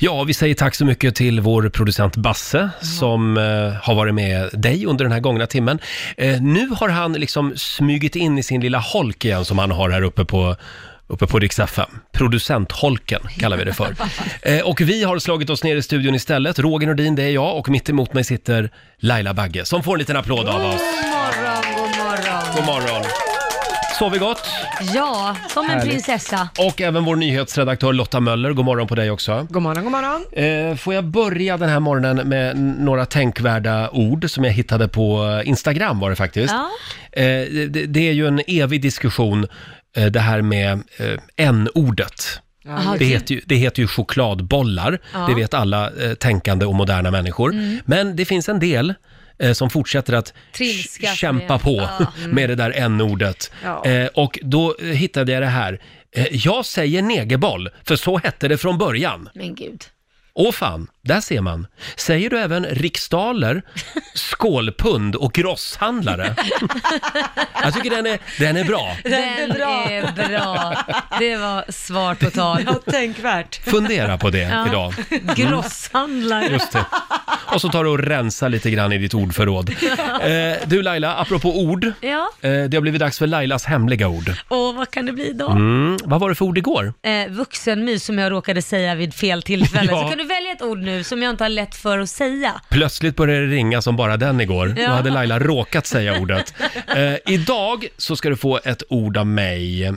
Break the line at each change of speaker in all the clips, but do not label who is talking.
Ja, vi säger tack så mycket till vår producent Basse som eh, har varit med dig under den här gångna timmen. Eh, nu har han liksom smugit in i sin lilla holk igen som han har här uppe på Uppe på Rix FM. Producentholken kallar vi det för. Eh, och vi har slagit oss ner i studion istället. Roger Nordin, det är jag och mitt emot mig sitter Laila Bagge som får en liten applåd av oss.
God morgon, god morgon.
God morgon! Sov vi gott?
Ja, som en
Härligt.
prinsessa.
Och även vår nyhetsredaktör Lotta Möller, god morgon på dig också.
God morgon, god morgon.
Eh, Får jag börja den här morgonen med n- några tänkvärda ord som jag hittade på eh, Instagram var det faktiskt.
Ja.
Eh, Det, det är ju en evig diskussion, eh, det här med eh, n-ordet.
Aha,
Det heter, ju, det heter ju chokladbollar,
Ja.
det vet alla eh, tänkande och moderna människor.
Mm.
Men det finns en del eh, som fortsätter att
Trilska
ch-
för
kämpa
det.
på
Ja.
med det där n-ordet.
Ja.
Eh, och då eh, hittade jag det här. Eh, jag säger negerboll, för så hette det från början.
Men gud.
Åh fan, där ser man. Säger du även riksdaler, skålpund och grosshandlare? Jag tycker den är, den är bra.
Den är bra. Det var svar på tal.
Ja, tänkvärt.
Fundera på det idag.
Grosshandlare.
Just det. Och så tar du och rensar lite grann i ditt ordförråd. Eh, du Laila, apropå ord. Eh,
Ja,
det har blivit dags för Lailas hemliga ord.
och vad kan det bli då?
Mm, vad var det för ord igår?
Eh, vuxenmys som jag råkade säga vid fel tillfälle.
Ja.
Så kan du välja ett ord nu som jag inte har lätt för att säga.
Plötsligt började det ringa som bara den igår. Då
Ja.
hade Laila råkat säga ordet. Eh, idag så ska du få ett ord av mig. Eh,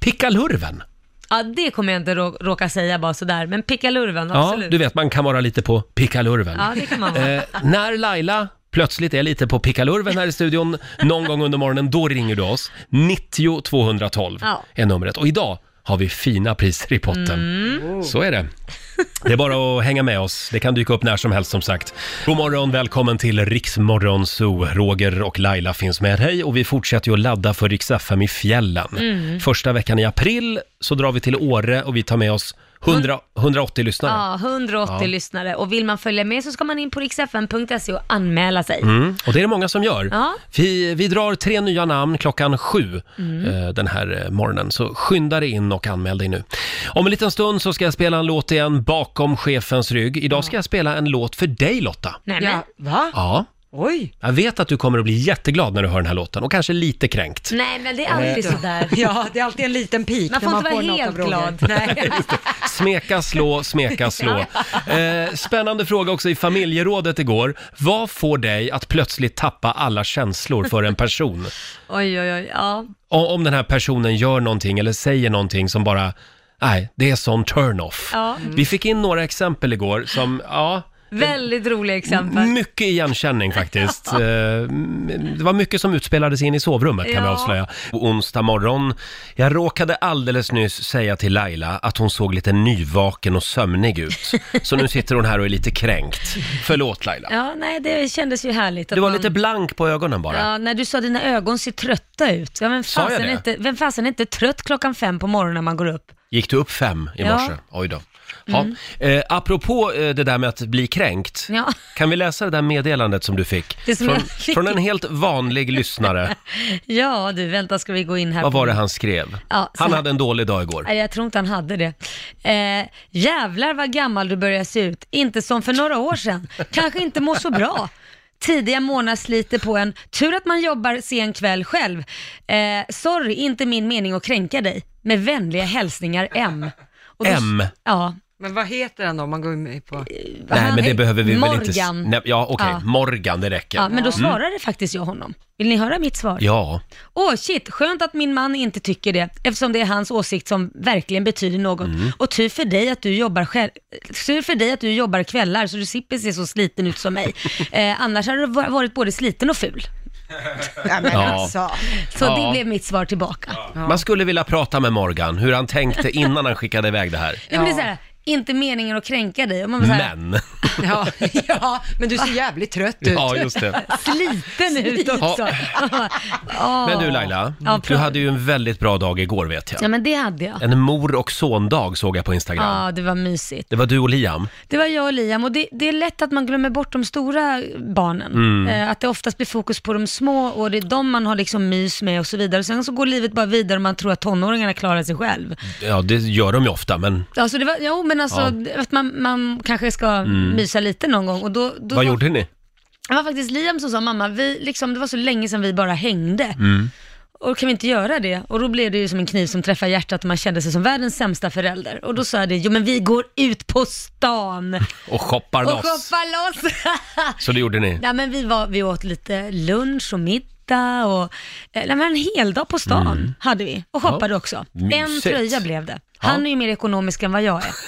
pickalurven.
Ja, det kommer jag inte rå- råka säga bara sådär, men pickalurven,
Ja,
absolut.
du vet, man kan vara lite på pickalurven.
Ja, det kan man vara.
Eh, när Laila plötsligt är lite på pickalurven här i studion någon gång under morgonen, då ringer du oss. 90 212
Ja.
är numret. Och idag har vi fina priser i potten.
Mm.
Så är det. Det är bara att hänga med oss. Det kan dyka upp när som helst som sagt. God morgon, välkommen till Riksmorgon Zoo. Roger och Laila finns med dig och vi fortsätter ju att ladda för Rix FM i fjällen.
Mm.
Första veckan i april så drar vi till Åre och vi tar med oss 100, 180 lyssnare.
Ja, 180
Ja.
lyssnare. Och vill man följa med så ska man in på riksfn.se och anmäla sig.
Mm, och det är det många som gör.
Ja.
Vi, vi drar tre nya namn klockan sju
Mm.
eh, den här eh, morgonen. Så skynda dig in och anmäl dig nu. Om en liten stund så ska jag spela en låt igen, Bakom chefens rygg. Idag ska jag spela en låt för dig Lotta.
Nej, men.
Ja, va?
Ja,
Oj.
jag vet att du kommer att bli jätteglad när du hör den här låten och kanske lite kränkt.
Nej, men det är alltid sådär.
Eh. Ja, det är alltid en liten pik
Man
när
får
man
inte vara
får något
helt
av Roger.
glad. Nej.
Smeka, slå, smeka, slå. Eh, spännande fråga också i familjerådet igår. Vad får dig att plötsligt tappa alla känslor för en person?
Oj, oj, oj. Ja.
om, om den här personen gör någonting eller säger någonting som bara, nej, det är sån turn-off.
Ja.
Vi fick in några exempel igår som, ja,
Väldigt roliga exempel.
mycket igenkänning faktiskt. Eh, m- Det var mycket som utspelades in i sovrummet kan vi
Ja.
avslöja. Onsdag morgon. Jag råkade alldeles nyss säga till Laila att hon såg lite nyvaken och sömnig ut. Så nu sitter hon här och är lite kränkt. Förlåt Laila.
Ja, nej, det kändes ju härligt. Att
Du var
man-
lite blank på ögonen bara.
Ja, när du sa dina ögon ser trötta ut. Ja, vem
Sa jag
fasen,
det?
är inte, vem fasen är inte trött klockan fem på morgonen när man går upp?
Gick du upp fem i
Ja. Mm.
morse? Oj då. Ja. Eh, apropå eh, det där med att bli kränkt,
Ja.
kan vi läsa det där meddelandet som du fick?
Det som
från,
jag fick.
från en helt vanlig lyssnare.
Ja, du, vänta ska vi gå in här.
Vad
på-
var det han skrev?
Ja, så
han
här-
hade en dålig dag igår.
Nej, jag tror inte han hade det. Eh, jävlar vad gammal du börjar se ut. Inte som för några år sedan. Kanske inte mår så bra. Tidiga morgnar sliter på en. Tur att man jobbar sen kväll själv. Eh, sorry, inte min mening att kränka dig. Med vänliga hälsningar M. Och då-
M?
Ja. Eh,
Men vad heter han då om man går med på? Ja,
Nej, men det behöver vi
Morgan.
väl inte... s- Nej, ja, okej.
Ja.
Morgan, Mm. det räcker.
Ja,
Ja.
men då svarade faktiskt jag honom. Vill ni höra mitt svar? Åh shit, skönt att min man inte tycker det, eftersom det är hans åsikt som verkligen betyder något.
Mm.
Och tur för, dig att du jobbar själv, tur för dig att du jobbar kvällar, så du slipper se så sliten ut som mig. Eh, annars hade du va- varit både sliten och ful.
men
Ja.
alltså.
Så
Ja.
det blev mitt svar tillbaka. Ja.
Man skulle vilja prata med Morgan, hur han tänkte innan han skickade iväg det här.
men det är så här, inte meningen att kränka dig. Och man var så här,
Men,
Ja, ja, men du ser jävligt trött ut.
ja just det.
sliten ut också. Ja.
Men du Laila,
Ja,
du
pra-
hade ju en väldigt bra dag igår vet
Ja
jag.
men det hade jag.
En mor och sondag såg jag på Instagram.
Ja, det var mysigt.
Det var du och Liam.
Det var jag och Liam och det, det är lätt att man glömmer bort de stora barnen.
Mm.
Eh, att det oftast blir fokus på de små och det är de man har liksom mys med och så vidare. Och sen så går livet bara vidare och man tror att tonåringarna klarar sig själv.
Ja, det gör de ju ofta, men
Alltså det var, jo, men alltså att man, man kanske ska mysa lite någon gång. Och då, då
Mm. Vad gjorde ni?
Det var faktiskt Liam som sa, mamma, vi, liksom, det var så länge sedan vi bara hängde.
Mm.
Och kan vi inte göra det? Och då blev det ju som en kniv som träffar hjärtat och man kände sig som världens sämsta förälder. Och då sa jag det, jo men vi går ut på stan
Och shoppar
och
loss.
shoppar loss.
Så det gjorde ni?
nej men vi, var, vi åt lite lunch och middag och, eh, nej men en hel dag på stan hade vi. Och shoppade också. En
Mm. Mysigt.
tröja blev det. Han
Ja.
är ju mer ekonomisk än vad jag är.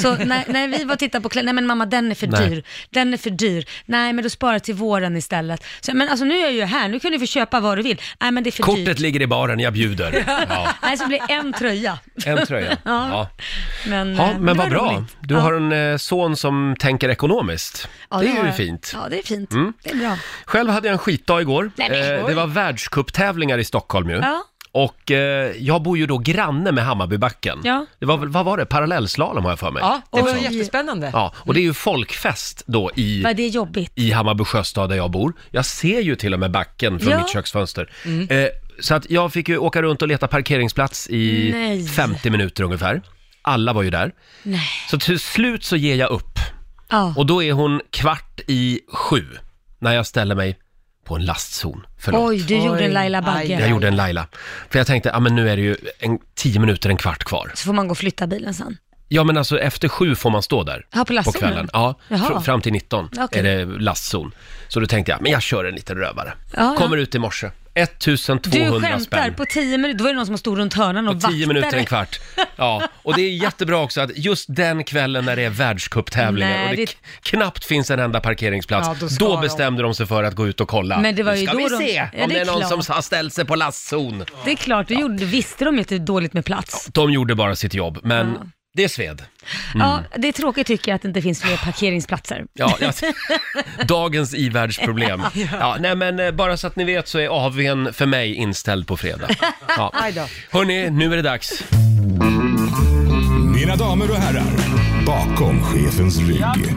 Så när, när vi var och tittade på kläder, nej men mamma den är för
Nej.
dyr, den är för dyr, nej men då sparar till våren istället. Så, men alltså nu är jag ju här, nu kan du få köpa vad du vill. Nej men det är för dyrt.
Kortet ligger i baren, jag bjuder. Ja.
Nej så blir det en tröja.
En tröja. Ja.
Men, eh,
Ja,
det
men vad
var
bra.
roligt.
Du
Ja.
har en eh, son som tänker ekonomiskt.
Ja,
det är
har
ju
jag.
fint. Mm.
Ja det är fint, det är bra.
Själv hade jag en skitdag igår.
Nej, men-
Eh, det var världscuptävlingar i Stockholm ju.
Ja.
Och eh, jag bor ju då granne med Hammarbybacken.
Ja.
Det var, väl- vad var det? Parallellslalom har jag för mig.
Ja, det var
Oj.
jättespännande.
Ja, och det är ju folkfest då i,
Vad det är jobbigt.
i Hammarby sjöstad där jag bor. Jag ser ju till och med backen från
Ja. Mm.
mitt köksfönster. Eh, så att jag fick ju åka runt och leta parkeringsplats i
Nej.
50 minuter ungefär. Alla var ju där.
Nej.
Så till slut så ger jag upp.
Ja.
Och då är hon kvart i sju när jag ställer mig på en lastzon. Förlåt.
Oj, du gjorde en
Oj.
Laila
Aj.
Bagge.
Jag gjorde en Laila. För jag tänkte, ja men nu är det ju en, tio minuter, en kvart kvar.
Så får man gå och flytta bilen sen.
Ja men alltså efter sju får man stå där.
Ja, på
på
lastzonen?
kvällen. Ja,
Jaha.
fr- fram till 19
Okej.
är det lastzon. Så då tänkte jag, men jag kör en liten rövare.
Ja,
Kommer
ja.
ut i morse,
Du
1200
skämtar,
spänn.
på 10 minuter, då var det någon som stod runt hörnan och
På 10 minuter, en
vaktade.
kvart. Ja, och det är jättebra också att just den kvällen när det är världscuptävlingar
Nej,
och det
det-
k- knappt finns en enda parkeringsplats,
Ja, då
då,
ska de.
bestämde de sig för att gå ut och kolla.
Men det var
Nu
ju
ska
då
vi
de-
se
Ja,
om
det
det är
är
någon
klart.
som har ställt sig på lastzon.
Det är klart, det gjorde, visste de ju att det är dåligt med plats.
De gjorde bara sitt jobb, men
Ja.
det sved. Mm.
Ja, det är tråkigt tycker jag att det inte finns fler parkeringsplatser.
Ja, jag, dagens ivärldsproblem. Ja, nej men eh, bara så att ni vet så är AWn för mig inställd på fredag. Ja.
Aj då.
Hörni, nu är det dags.
Mina damer och herrar, bakom chefens rygg.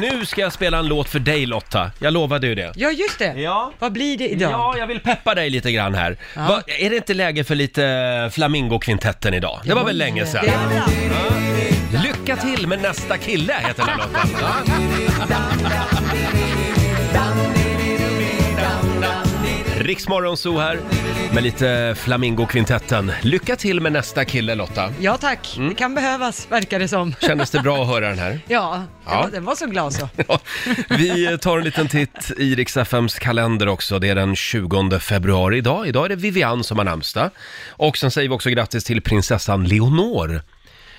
Nu ska jag spela en låt för dig Lotta. Jag lovade ju det.
Ja, just det.
Ja.
Vad blir det idag?
Ja, jag vill peppa dig lite grann här. Va, är det inte läge för lite Flamingokvintetten idag? Det var väl länge sedan?
Det är bra.
Lycka till med nästa kille, heter den här låten. Riksmorgon Zoo här med lite Flamingokvintetten. Lycka till med nästa kille Lotta. Mm.
Ja tack, det kan behövas verkar det som.
Kändes det bra att höra den här?
Ja,
Ja.
Den, var, den var så glad så.
Ja, vi tar en liten titt i Rix FMs kalender också. Det är den 20 februari idag. Idag är det Vivian som har namnsdag. Och sen säger vi också grattis till prinsessan Leonor.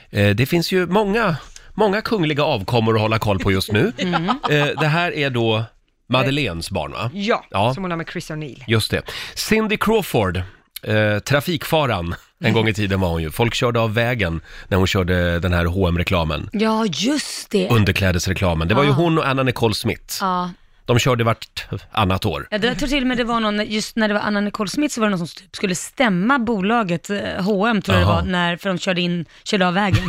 Eh, Det finns ju många, många kungliga avkommor att hålla koll på just nu.
Mm.
Eh, Det här är då Madeleines barn, va?
Ja,
Ja.
som hon har med Chris O'Neill.
Just det. Cindy Crawford, eh, trafikfaran.
Mm.
En gång i tiden var hon ju. Folk körde av vägen när hon körde den här hm reklamen
Ja, just det.
underklädesreklamen. Det var ju
Ah.
hon och Anna Nicole Smith.
Ja.
De körde vartannat år.
Ja, det- Jag tror till och med det var någon, just när det var Anna Nicole Smith så var det någon som typ skulle stämma bolaget, eh, H&M tror jag det
Jaha.
var, när, för de körde, in, körde av vägen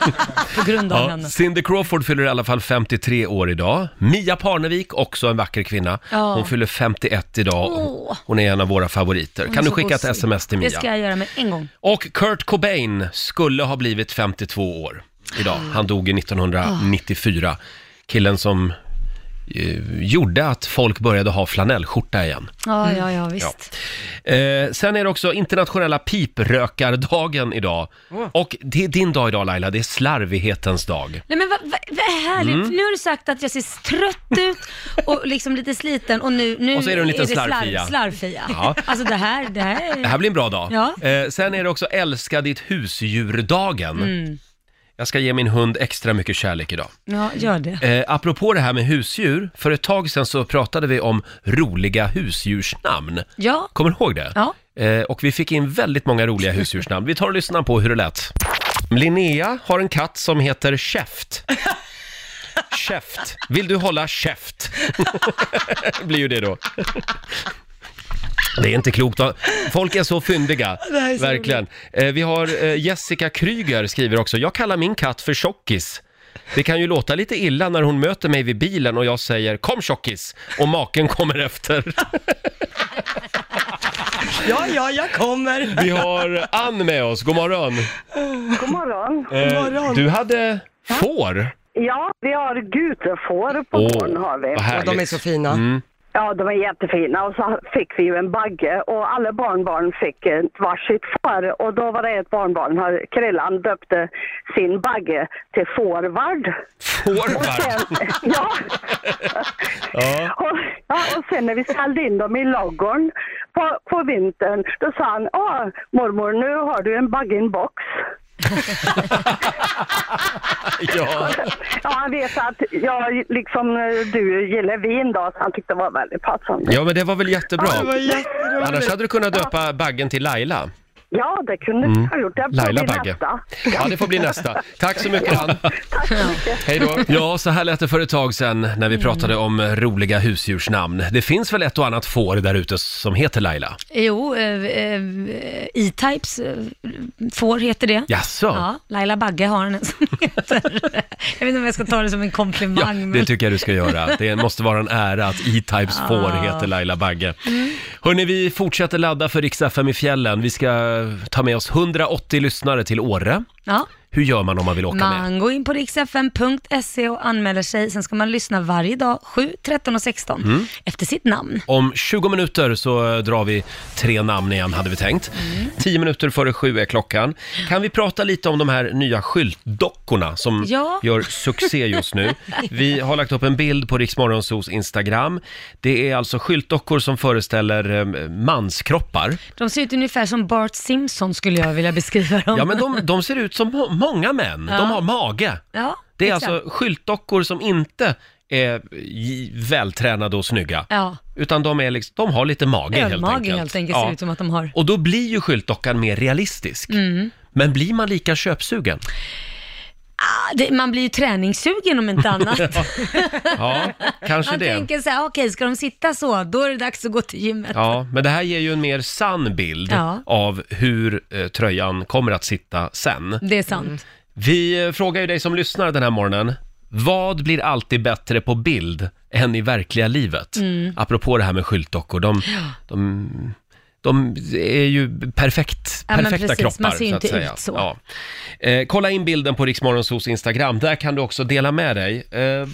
på grund av
Ja,
henne.
Cindy Crawford fyller i alla fall 53 år idag. Mia Parnevik, också en vacker kvinna.
Ja.
Hon fyller 51 idag.
Åh.
Hon är en av våra favoriter.
Hon är
Kan du
så
skicka ett
gosig.
sms till
Det
Mia?
ska jag göra med en gång.
Och Kurt Cobain skulle ha blivit 52 år idag.
Ah.
Han dog ju 1994. Killen som eh, gjorde att folk började ha flanellskjorta igen.
Ja, ja,
Mm.
ja, visst.
Eh, sen är det också internationella piprökardagen idag. Och det är din dag idag Laila, det är slarvighetens dag.
Nej men vad va, va härligt,
Mm.
nu har du sagt att jag ser trött ut och liksom lite sliten och nu, nu
Och så är du en liten
det slarv-
slarvfia.
slarvfia.
Ja.
Alltså det här, det här
Det
är...
här blir en bra dag.
Ja.
Eh, sen är det också älska ditt husdjurdagen.
Mm.
Jag ska ge min hund extra mycket kärlek idag.
Ja, gör det.
Eh, apropå det här med husdjur, för ett tag sedan så pratade vi om roliga husdjursnamn.
Ja,
Kommer du ihåg det?
Ja.
Eh, och vi fick in väldigt många roliga husdjursnamn. Vi tar och lyssnar på hur det lät. Linnea har en katt som heter Käft. Käft. Vill du hålla käft? blir ju det då. Det är inte klokt. va? Folk är så fyndiga.
är så
Verkligen. Eh, vi har eh, Jessica Kryger skriver också. Jag kallar min katt för Tjockis. Det kan ju låta lite illa när hon möter mig vid bilen och jag säger “Kom Tjockis!” och maken kommer efter.
Ja, ja, jag kommer.
Vi har Ann med oss, god morgon.
God morgon.
Eh,
morgon.
Du hade får.
Ja, vi har gutefår på
Åh,
gården har vi.
vad
Ja,
härligt.
de är så fina.
Mm.
Ja, de är jättefina. Och så fick vi ju en bagge och alla barnbarn fick ett varsitt får. Och då var det ett barnbarn, har- Krillan, döpte sin bagge till Forward.
Forward.
Sen, ja.
Ja.
Och, ja, och sen när vi ställde in dem i ladugården på, på vintern, då sa han, Åh, mormor nu har du en bagge i en box.
ja.
Ja, han vet att jag liksom, eh, du gillar vin då, så han tyckte det var väldigt passande.
Ja, men det var väl
Det var
jättebra. Annars
jätteroligt.
hade du kunnat döpa baggen till Laila.
Ja, det kunde jag ha gjort. Det får
Mm. Laila
bli
Bagge.
nästa.
Ja, det får bli nästa. Tack så mycket Ann.
Tack så mycket.
Hej då. Ja, så här lät det för ett tag sedan när
Mm.
vi pratade om roliga husdjursnamn. Det finns väl ett och annat får där ute som heter Laila?
Jo, eh, eh, E-Types eh, får heter det.
Jaså?
Ja, Laila Bagge har en som heter. Jag vet inte om jag ska ta det som en
Ja,
komplimang.
det
men-
tycker jag du ska göra. Det måste vara en ära att E-Types får heter Laila Bagge.
Mm.
Hörni, vi fortsätter ladda för Rix FM i fjällen. Vi ska ta med oss 180 lyssnare till Åre.
ja.
Hur gör man om man vill åka med?
Man går in på riksfm.se och anmäler sig. Sen ska man lyssna varje dag 7, 13 och 16
Mm.
efter sitt namn.
Om 20 minuter så eh, drar vi tre namn igen, hade vi tänkt.
Mm.
10 minuter före sju är klockan. Kan vi prata lite om de här nya skyltdockorna som
Ja.
gör succé just nu? Vi har lagt upp en bild på Riksmorgonsos Instagram. Det är alltså skyltdockor som föreställer eh, manskroppar.
De ser ut ungefär som Bart Simpson skulle jag vilja beskriva dem.
Ja, men de, de ser ut som må- många män.
Ja.
De har mage.
Ja,
Det är
exakt.
alltså skyltdockor som inte är j- vältränade och snygga.
Ja,
Utan de, är liksom, de har lite mage helt
ölmage
enkelt.
helt enkelt ser
Ja.
ut som att de har. Mm.
Och då blir ju skyltdockan mer realistisk. Men blir man lika köpsugen?
Ah, det, man blir ju träningssugen om inte annat.
Ja, kanske
man
det.
tänker så här, okej ska de sitta så, då är det dags att gå till gymmet.
Ja, men det här ger ju en mer sann bild
Ja.
av hur eh, tröjan kommer att sitta sen.
Det är sant.
Vi eh, frågar ju dig som lyssnar den här morgonen. Vad blir alltid bättre på bild än i verkliga livet?
Mm.
Apropå det här med skyltdockor. De, de, de är ju perfekt,
Ja, men
perfekta
precis.
kroppar.
Man ser ju
så att
inte
säga.
ut så.
Ja. Eh, kolla in bilden på Riksmorgonsos Instagram. Där kan du också dela med dig. Eh,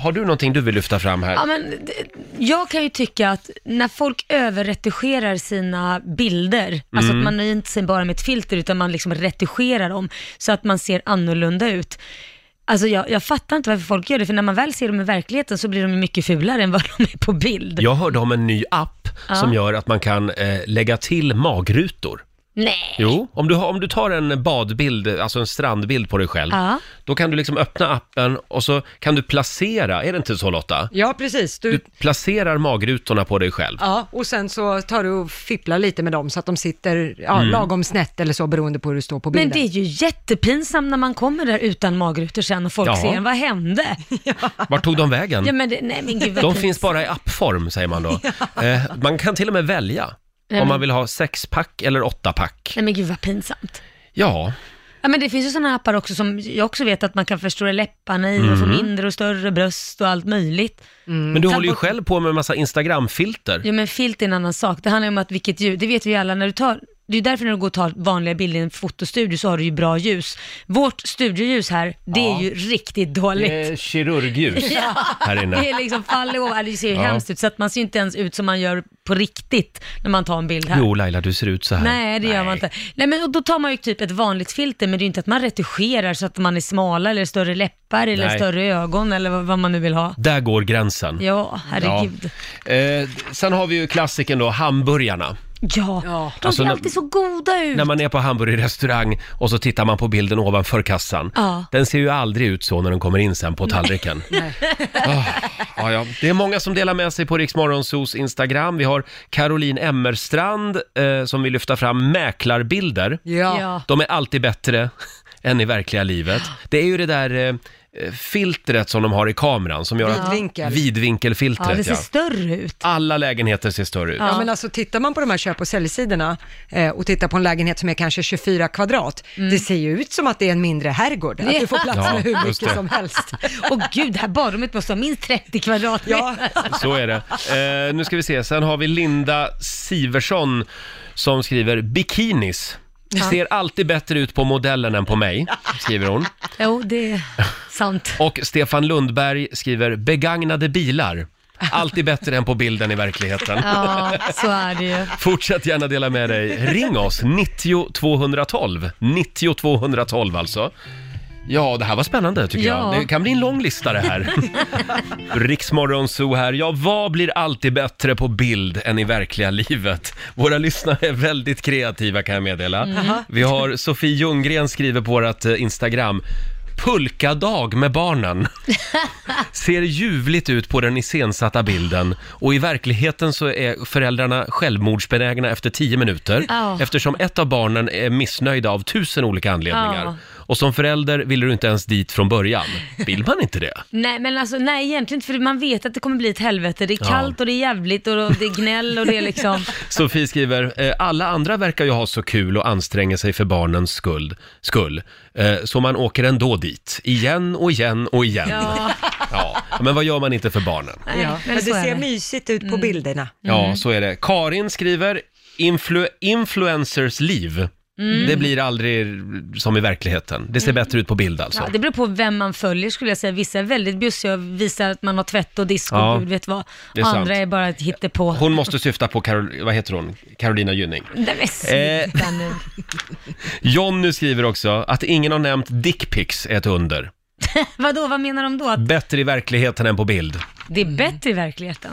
har du någonting du vill lyfta fram här?
Ja, men, d- jag kan ju tycka att när folk överretuscherar sina bilder, alltså
Mm.
att man nöjer inte sig bara med ett filter utan man liksom retuscherar dem så att man ser annorlunda ut. Alltså jag, jag fattar inte varför folk gör det, för när man väl ser dem i verkligheten så blir de ju mycket fulare än vad de är på bild.
Jag hörde om en ny app som gör att man kan eh, lägga till magrutor.
Nej.
Jo, om du, har- om du tar en badbild, alltså en strandbild på dig själv,
Ja.
då kan du liksom öppna appen och så kan du placera, är det inte så Lotta?
Ja, precis. Du,
Du placerar magrutorna på dig själv.
Ja, och sen så tar du och fipplar lite med dem så att de sitter ja,
Mm.
lagom snett eller så beroende på hur du står på bilden.
Men det är ju jättepinsamt när man kommer där utan magrutor sen och folk
Ja.
ser en. Vad hände?
Vart tog de vägen?
Ja, men det, nej, men gud, vad
De
pinsamt.
finns bara i appform, säger man då. Eh, man kan till och med välja
Nej,
om
men-
man vill ha sexpack eller åttapack.
Nej men gud vad pinsamt.
Ja,
Ja, men det finns ju sådana appar också som jag också vet att man kan förstora läpparna i
Mhm.
och få mindre och större bröst och allt möjligt.
men du
Ta
håller ju
bort-
själv på med en massa Instagram-filter.
Jo, men filt är en annan sak. Det handlar ju om att vilket ljud, det vet vi ju alla när du tar det är ju därför när du går och tar vanliga bilder i en fotostudio så har du ju bra ljus. Vårt studioljus här, det
Ja.
är ju riktigt dåligt.
Det är kirurgljus här
Det
inne.
är liksom faller över, det ser ju
Ja.
hemskt ut så att man ser ju inte ens ut som man gör på riktigt när man tar en bild här.
Jo, Laila, du ser ut så här.
Nej, det gör man inte. Nej, men och då tar man ju typ ett vanligt filter, men det är ju inte att man retuscherar så att man är smala eller större läppar eller
Nej.
större ögon eller vad, vad man nu vill ha.
Där går gränsen.
Ja, herregud.
Eh, sen har vi ju klassiken då, hamburgarna.
Ja,
Ja.
de
Alltså,
ser
när-
alltid så goda ut.
När man är på hamburgerrestaurang och så tittar man på bilden ovanför kassan.
Ja.
Den ser ju aldrig ut så när den kommer in sen på tallriken. Ah, ja, ja. Det är många som delar med sig på Riksmorgonsos Instagram. Vi har Caroline Emmerstrand eh, som vill lyfta fram mäklarbilder.
Ja.
Ja.
De är alltid bättre än i verkliga livet. Det är ju det där eh, eh, filtret som de har i kameran som gör att...
Vidvinkel.
Ja, det
Vidvinkelfiltret,
ser
ja.
större ut.
Alla lägenheter ser större ut.
Ja.
Ja, men alltså tittar man på de här köp och säljsidorna eh, och tittar på en lägenhet som är kanske 24 kvadrat,
Mm.
det ser ju ut som att det är en mindre herrgård, att du får plats
Ja,
med hur
just
mycket
det.
som helst.
Och gud, det här badrummet måste ha minst 30 kvadratmeter.
Ja,
Så är det. Eh, nu ska vi se, sen har vi Linda Siversson som skriver bikinis. Ser alltid bättre ut på modellen än på mig, skriver hon.
Jo, det är sant.
Och Stefan Lundberg skriver begagnade bilar. Alltid bättre än på bilden i verkligheten.
Ja, så är det ju.
Fortsätt gärna dela med dig. Ring oss, 90 212. 90 212 alltså. Ja, det här var spännande tycker
Ja.
jag. Det kan bli en lång lista det här. Riksmorgon Zoo här. Ja, vad blir alltid bättre på bild än i verkliga livet? Våra lyssnare är väldigt kreativa kan jag meddela.
Mm.
Vi har Sofie Ljunggren skriver på vårt eh, Instagram. Pulkadag med barnen. Ser ljuvligt ut på den iscensatta bilden och i verkligheten så är föräldrarna självmordsbenägna efter tio minuter
Ja.
eftersom ett av barnen är missnöjda av tusen olika anledningar.
Ja.
Och som förälder vill du inte ens dit från början. Vill man inte det?
Nej, men alltså, nej egentligen inte, för man vet att det kommer bli ett helvete. Det är
Ja.
kallt och det är jävligt och det är gnäll och det är liksom...
Sofie skriver, eh, alla andra verkar ju ha så kul och anstränger sig för barnens skuld, skull. Eh, Så man åker ändå dit, igen och igen och igen.
Ja,
Ja, men vad gör man inte för barnen?
nej,
ja. Men det
så är Mm.
ser mysigt ut på bilderna. Mm.
Ja, så är det. Karin skriver, Influ- influencers liv.
Mm.
Det blir aldrig som i verkligheten. Det ser bättre ut på bild alltså.
Ja, det beror på vem man följer skulle jag säga. Vissa är väldigt bjussiga och visar att man har tvätt och disk och
Ja,
gud vet vad.
det är
Andra
sant.
är bara ett hittepå.
Hon måste syfta på, Karol- vad heter hon? Carolina Gynning. Eh,
Nej men sluta nu.
Jonny skriver också att ingen har nämnt dickpics är ett under.
Vadå, vad menar de då? Att
Bättre i verkligheten än på bild.
det är bättre i verkligheten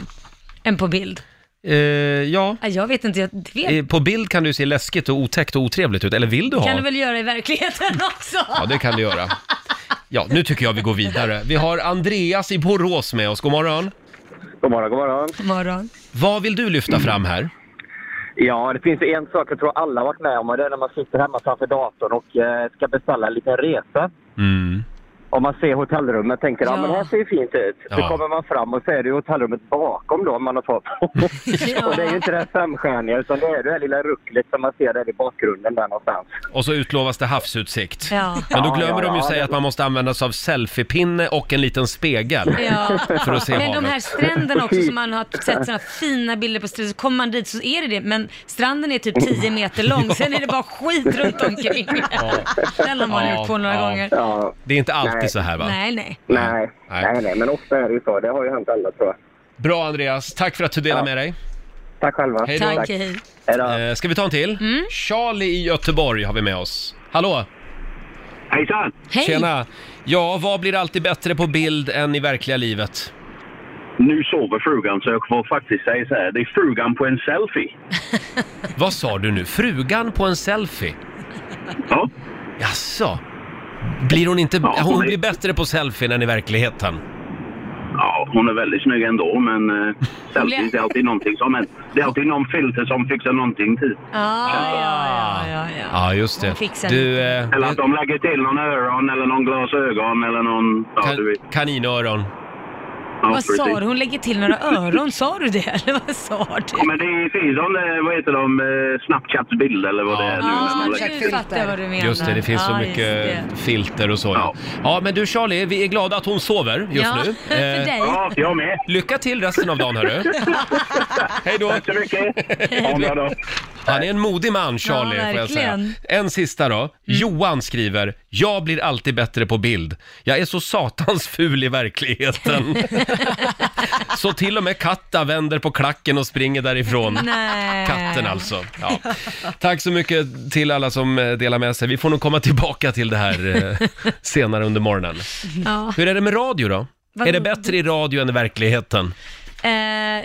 än på bild?
Eh, ja,
Ja, Jag vet inte, jag det vet.
Eh, På bild kan du se läskigt och otäckt och otrevligt ut, eller vill du ha?
kan du väl göra i verkligheten också?
Ja, det kan du göra. Ja, nu tycker jag vi går vidare. Vi har Andreas i Borås med oss, god morgon.
God morgon, god morgon.
Morgon.
Vad vill du lyfta fram här?
Ja, det finns ju en sak jag tror alla har varit med om och det är när man sitter hemma framför datorn och eh, ska beställa en liten resa.
Mm.
Om man ser hotellrummet tänker ja.
Ja.
men det här ser ju fint ut.
Ja.
Så kommer man fram och så är det ju hotellrummet bakom då man har fått. och det är ju inte det här femstjärniga utan det är det här lilla rucklet som man ser där i bakgrunden där någonstans.
Och så utlovas det havsutsikt.
Ja.
Men då
Ja,
glömmer
ja,
de ju
ja,
säga
det-
att man måste använda sig av selfiepinne och en liten spegel.
Ja.
För att se
Men de
havet.
här stränderna också som man har sett sådana fina bilder på stränder, så kommer man dit så är det det, men stranden är typ 10 meter lång, sen är det bara skit runt omkring. Den har man
Ja,
gjort på några
ja.
gånger.
Ja,
Det är inte alltid
Nej.
så här va?
Nej, nej.
nej.
Nej.
Nej. nej, men ofta är det ju så. Det har ju hänt alla tror jag.
Bra Andreas, tack för att du delade
Ja.
med dig.
Tack själva.
Hej då.
Tack, hej.
Hej då.
Eh, Ska vi ta en till?
Mm.
Charlie i Göteborg har vi med oss. Hallå!
Hejsan!
Hej.
Tjena! Ja, vad blir alltid bättre på bild än i verkliga livet?
Nu sover frugan så jag får faktiskt säga så här. Det är frugan på en selfie.
Vad sa du nu? Frugan på en selfie?
Ja,
Jaså? Blir hon inte...
Ja,
hon
hon är-
blir bättre på selfien än i verkligheten?
ja hon är väldigt snygg ändå men eh,
Blir-
selfies det är alltid någonting som händer. Det är alltid någon filter som fixar någonting typ. till.
Ah, Ja, ja, ja, ja, ja.
Ja, just det.
Hon fixar
Du, eh,
Eller att de lägger till någon öron eller någon glasögon eller någon... Ja, du
kan,
vet.
kaninöron.
Ja,
Vad sa
precis.
du? Hon lägger till några öron, sa du det? Eller vad sa du?
Ja, Men det finns sån, eh, vad heter de, eh, Snapchats bild eller vad det är nu. när
Ja,
man lägger-
nu fattar jag vad du menar.
Just det, det finns så
Ja,
mycket
just det.
filter och så. Ja.
Ja.
ja, men du Charlie, vi är glada att hon sover just
ja,
nu. Eh,
för dig.
Ja, jag med.
lycka till resten av dagen hörru. Hej då!
Tack så mycket. Ha en bra dag.
Han är en modig man Charlie
Ja,
får jag säga.
verkligen. Mm.
En sista då. Johan skriver, jag blir alltid bättre på bild. Jag är så satans ful i verkligheten. så till och med Katta vänder på klacken och springer därifrån.
Nej.
Katten alltså. Ja. Tack så mycket till alla som eh, delar med sig. Vi får nog komma tillbaka till det här eh, senare under morgonen.
Ja.
Hur är det med radio då?
Vad-
Är det bättre i radio än i verkligheten?
Eh,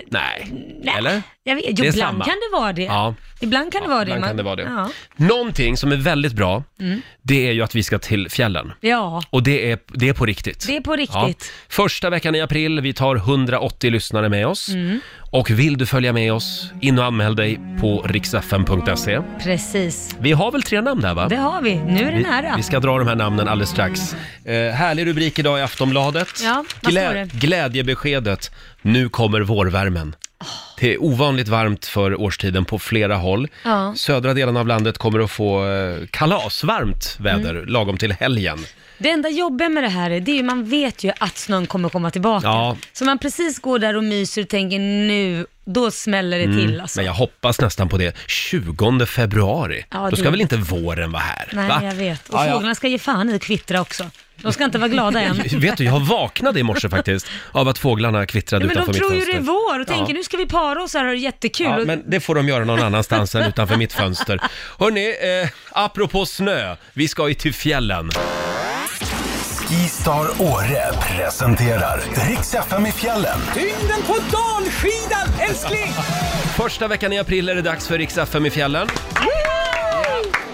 Nej. Eller?
Jag vet,
Det
jo,
är
ibland
samma.
kan det vara det.
Ja.
Ibland kan det
Ja,
vara det.
ibland
Man-
kan det vara det.
Ja. Mm.
Någonting som är väldigt bra, det är ju att vi ska till fjällen.
ja.
Och det är, det är på riktigt.
Det är på riktigt. Mm.
Första veckan i april, vi tar 180 lyssnare med oss. Och vill du följa med oss, in och anmäl dig på riksfn.se.
Precis.
Vi har väl tre namn här va?
Det har vi. Nu är det
Vi,
nära.
vi ska dra de här namnen alldeles strax. Eh, härlig rubrik idag i Aftonbladet.
Ja, vad står det?
glädjebeskedet. Nu kommer vårvärmen. Det är ovanligt varmt för årstiden på flera håll.
Ja.
Södra delen av landet kommer att få eh, kalasvarmt väder
Mm.
lagom till helgen.
Det enda jobbiga med det här är, det är ju man vet ju att snön kommer komma tillbaka.
Ja.
Så man precis går där och myser och tänker nu, då smäller det till alltså.
Mm. Men jag hoppas nästan på det. 20 februari,
Ja,
då
det-
ska väl inte våren vara här?
Nej,
va?
jag vet. Och
Ja, ja.
fåglarna ska ge fan i att kvittra också. De ska inte vara glada än.
Vet du, jag vaknade i morse faktiskt av att fåglarna kvittrade
Ja, men de
utanför mitt
tror ju
fönster.
det är vår och
Ja.
tänker nu ska vi para oss här och ha det jättekul.
Ja,
Och-
men det får de göra någon annanstans än utanför mitt fönster. Hörni, eh, apropå snö, vi ska ju till fjällen.
Skistar Åre presenterar Riks FM i fjällen.
Tyngden på dalskidan, älskling!
Första veckan i april är det dags för Rix FM i fjällen.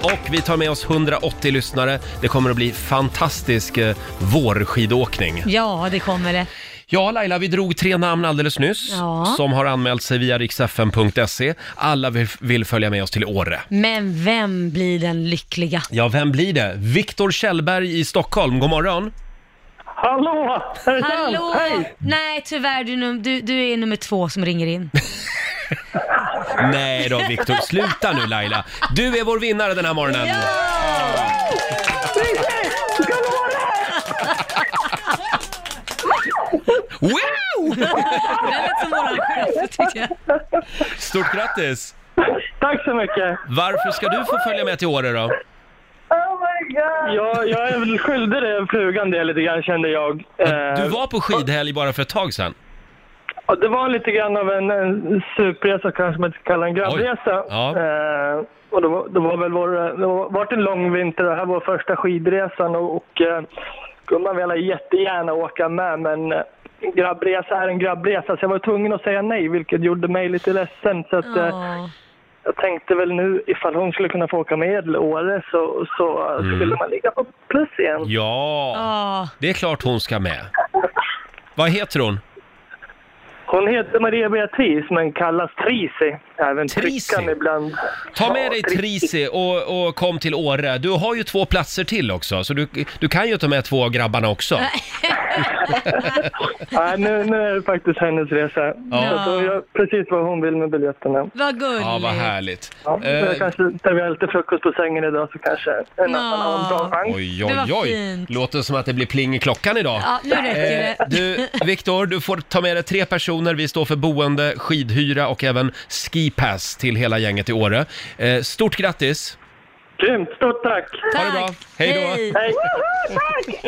Och vi tar med oss 180 lyssnare. Det kommer att bli fantastisk eh, vårskidåkning.
Ja, det kommer det.
Ja, Laila, vi drog tre namn alldeles nyss
Ja.
som har anmält sig via riksfm.se. Alla vill, vill följa med oss till Åre.
Men vem blir den lyckliga?
Ja, vem blir det? Viktor Kjellberg i Stockholm, god morgon.
Hallå! Är det
Hallå!
sant? Hej!
Nej, tyvärr, du, num- du, du är nummer två som ringer in.
Nej då Viktor, sluta nu Laila. Du är vår vinnare den här morgonen. Wow!
Det lät som våran chef, tycker jag.
Stort grattis!
Tack så mycket!
Varför ska du få följa med till Åre då?
Jag, jag är väl skyldig det flugan det lite grann kände jag.
Du
Eh,
var på skidhelg bara för ett tag sedan.
och Det var lite grann av en, en superresa, kanske man inte ska kalla en grabbresa.
Oj. Ja.
Eh, och det var, det var väl vår, det var varit en lång vinter och det här var första skidresan och, och eh, gumman ville jättegärna åka med men eh, en grabbresa är en grabbresa så jag var tvungen att säga nej vilket gjorde mig lite ledsen. Så att, eh,
Ja.
Jag tänkte väl nu ifall hon skulle kunna få åka med till Åre så, så
Mm.
skulle man ligga på plus igen.
Ja,
Ja.
det är klart hon ska med. Vad heter hon?
Hon heter Maria Beatrice men kallas Trisi. Även
Trisi?
Trickan ibland.
Ta med
Ja,
dig Trisi och, och kom till Åre. Du har ju två platser till också, så du, du kan ju ta med två av grabbarna också.
Nej, nu, nu är det faktiskt hennes resa. Så att hon gör precis vad hon vill med biljetterna.
Vad gulligt.
Ja, vad härligt.
Ja, så
Eh,
jag kanske tar med lite frukost på sängen idag så kanske en annan
Ja.
har en bra chans.
Eh, Oj,
Det
oj,
var
oj.
fint.
Låter som att det blir pling i klockan idag.
Ja, nu räcker det.
Eh, Du, Viktor, du får ta med dig tre personer. Vi står för boende, skidhyra och även skipass till hela gänget i Åre. Eh, Stort grattis!
Grymt, stort tack!
Ha det bra. Hej då.
Hej!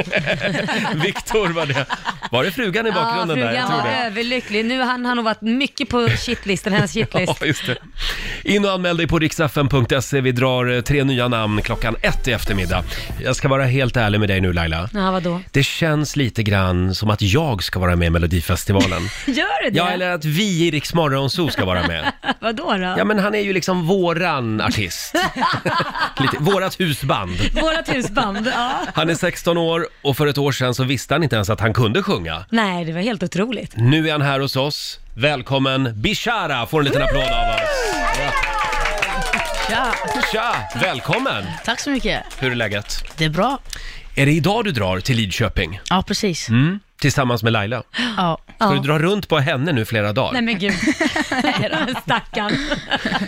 Viktor var det. Var det frugan i
Ja,
bakgrunden där?
frugan var
det.
överlycklig. Nu han, han har varit mycket på shitlistan, hennes shitlist.
Ja, just det. In och anmäl dig på riksfn.se. Vi drar eh, tre nya namn klockan ett i eftermiddag. Jag ska vara helt ärlig med dig nu Laila.
Ja, vadå?
Det känns lite grann som att jag ska vara med i Melodifestivalen.
Gör det det?
Ja, eller att vi i Rix Morgonzoo ska vara med.
Vadå då?
Ja, men han är ju liksom våran artist. Lite, vårat husband.
Vårat husband, ja.
Han är 16 år och för ett år sedan så visste han inte ens att han kunde sjunga.
Nej, det var helt otroligt.
Nu är han här hos oss. Välkommen Bishara! Får en liten applåd av oss.
Ja,
Tja! Välkommen!
tack så mycket.
Hur är läget?
Det är bra.
Är det idag du drar till Lidköping?
Ja, precis.
Mm, tillsammans med Laila. Ska
Ja.
Ja.
du dra runt på henne nu flera
Nej
dagar?
men gud, stackarn.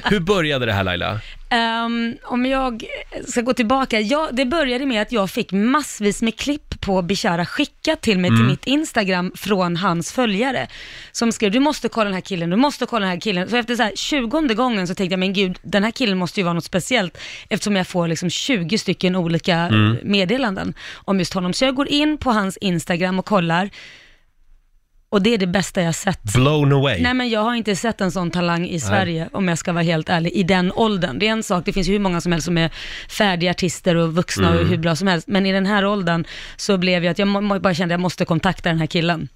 Hur började det här Laila?
Ehm, om jag ska gå tillbaka, jag, det började med att jag fick massvis med klipp på Bishara skickat till mig till mitt Instagram från hans följare. Som skrev, du måste kolla den här killen, du måste kolla den här killen. Så efter så här 20 gången så tänkte jag, men gud, den här killen måste ju vara något speciellt. Eftersom jag får liksom 20 stycken olika eh, meddelanden om just honom. Så jag går in på hans Instagram och kollar. Och det är det bästa jag sett.
Blown away.
Nej men jag har inte sett en sån talang i Sverige om jag ska vara helt ärlig, i den åldern. Det är en sak, det finns ju hur många som helst som är färdiga artister och vuxna och
Mm.
hur bra som helst. Men i den här åldern så blev jag att jag må- må- bara kände att jag måste kontakta den här killen.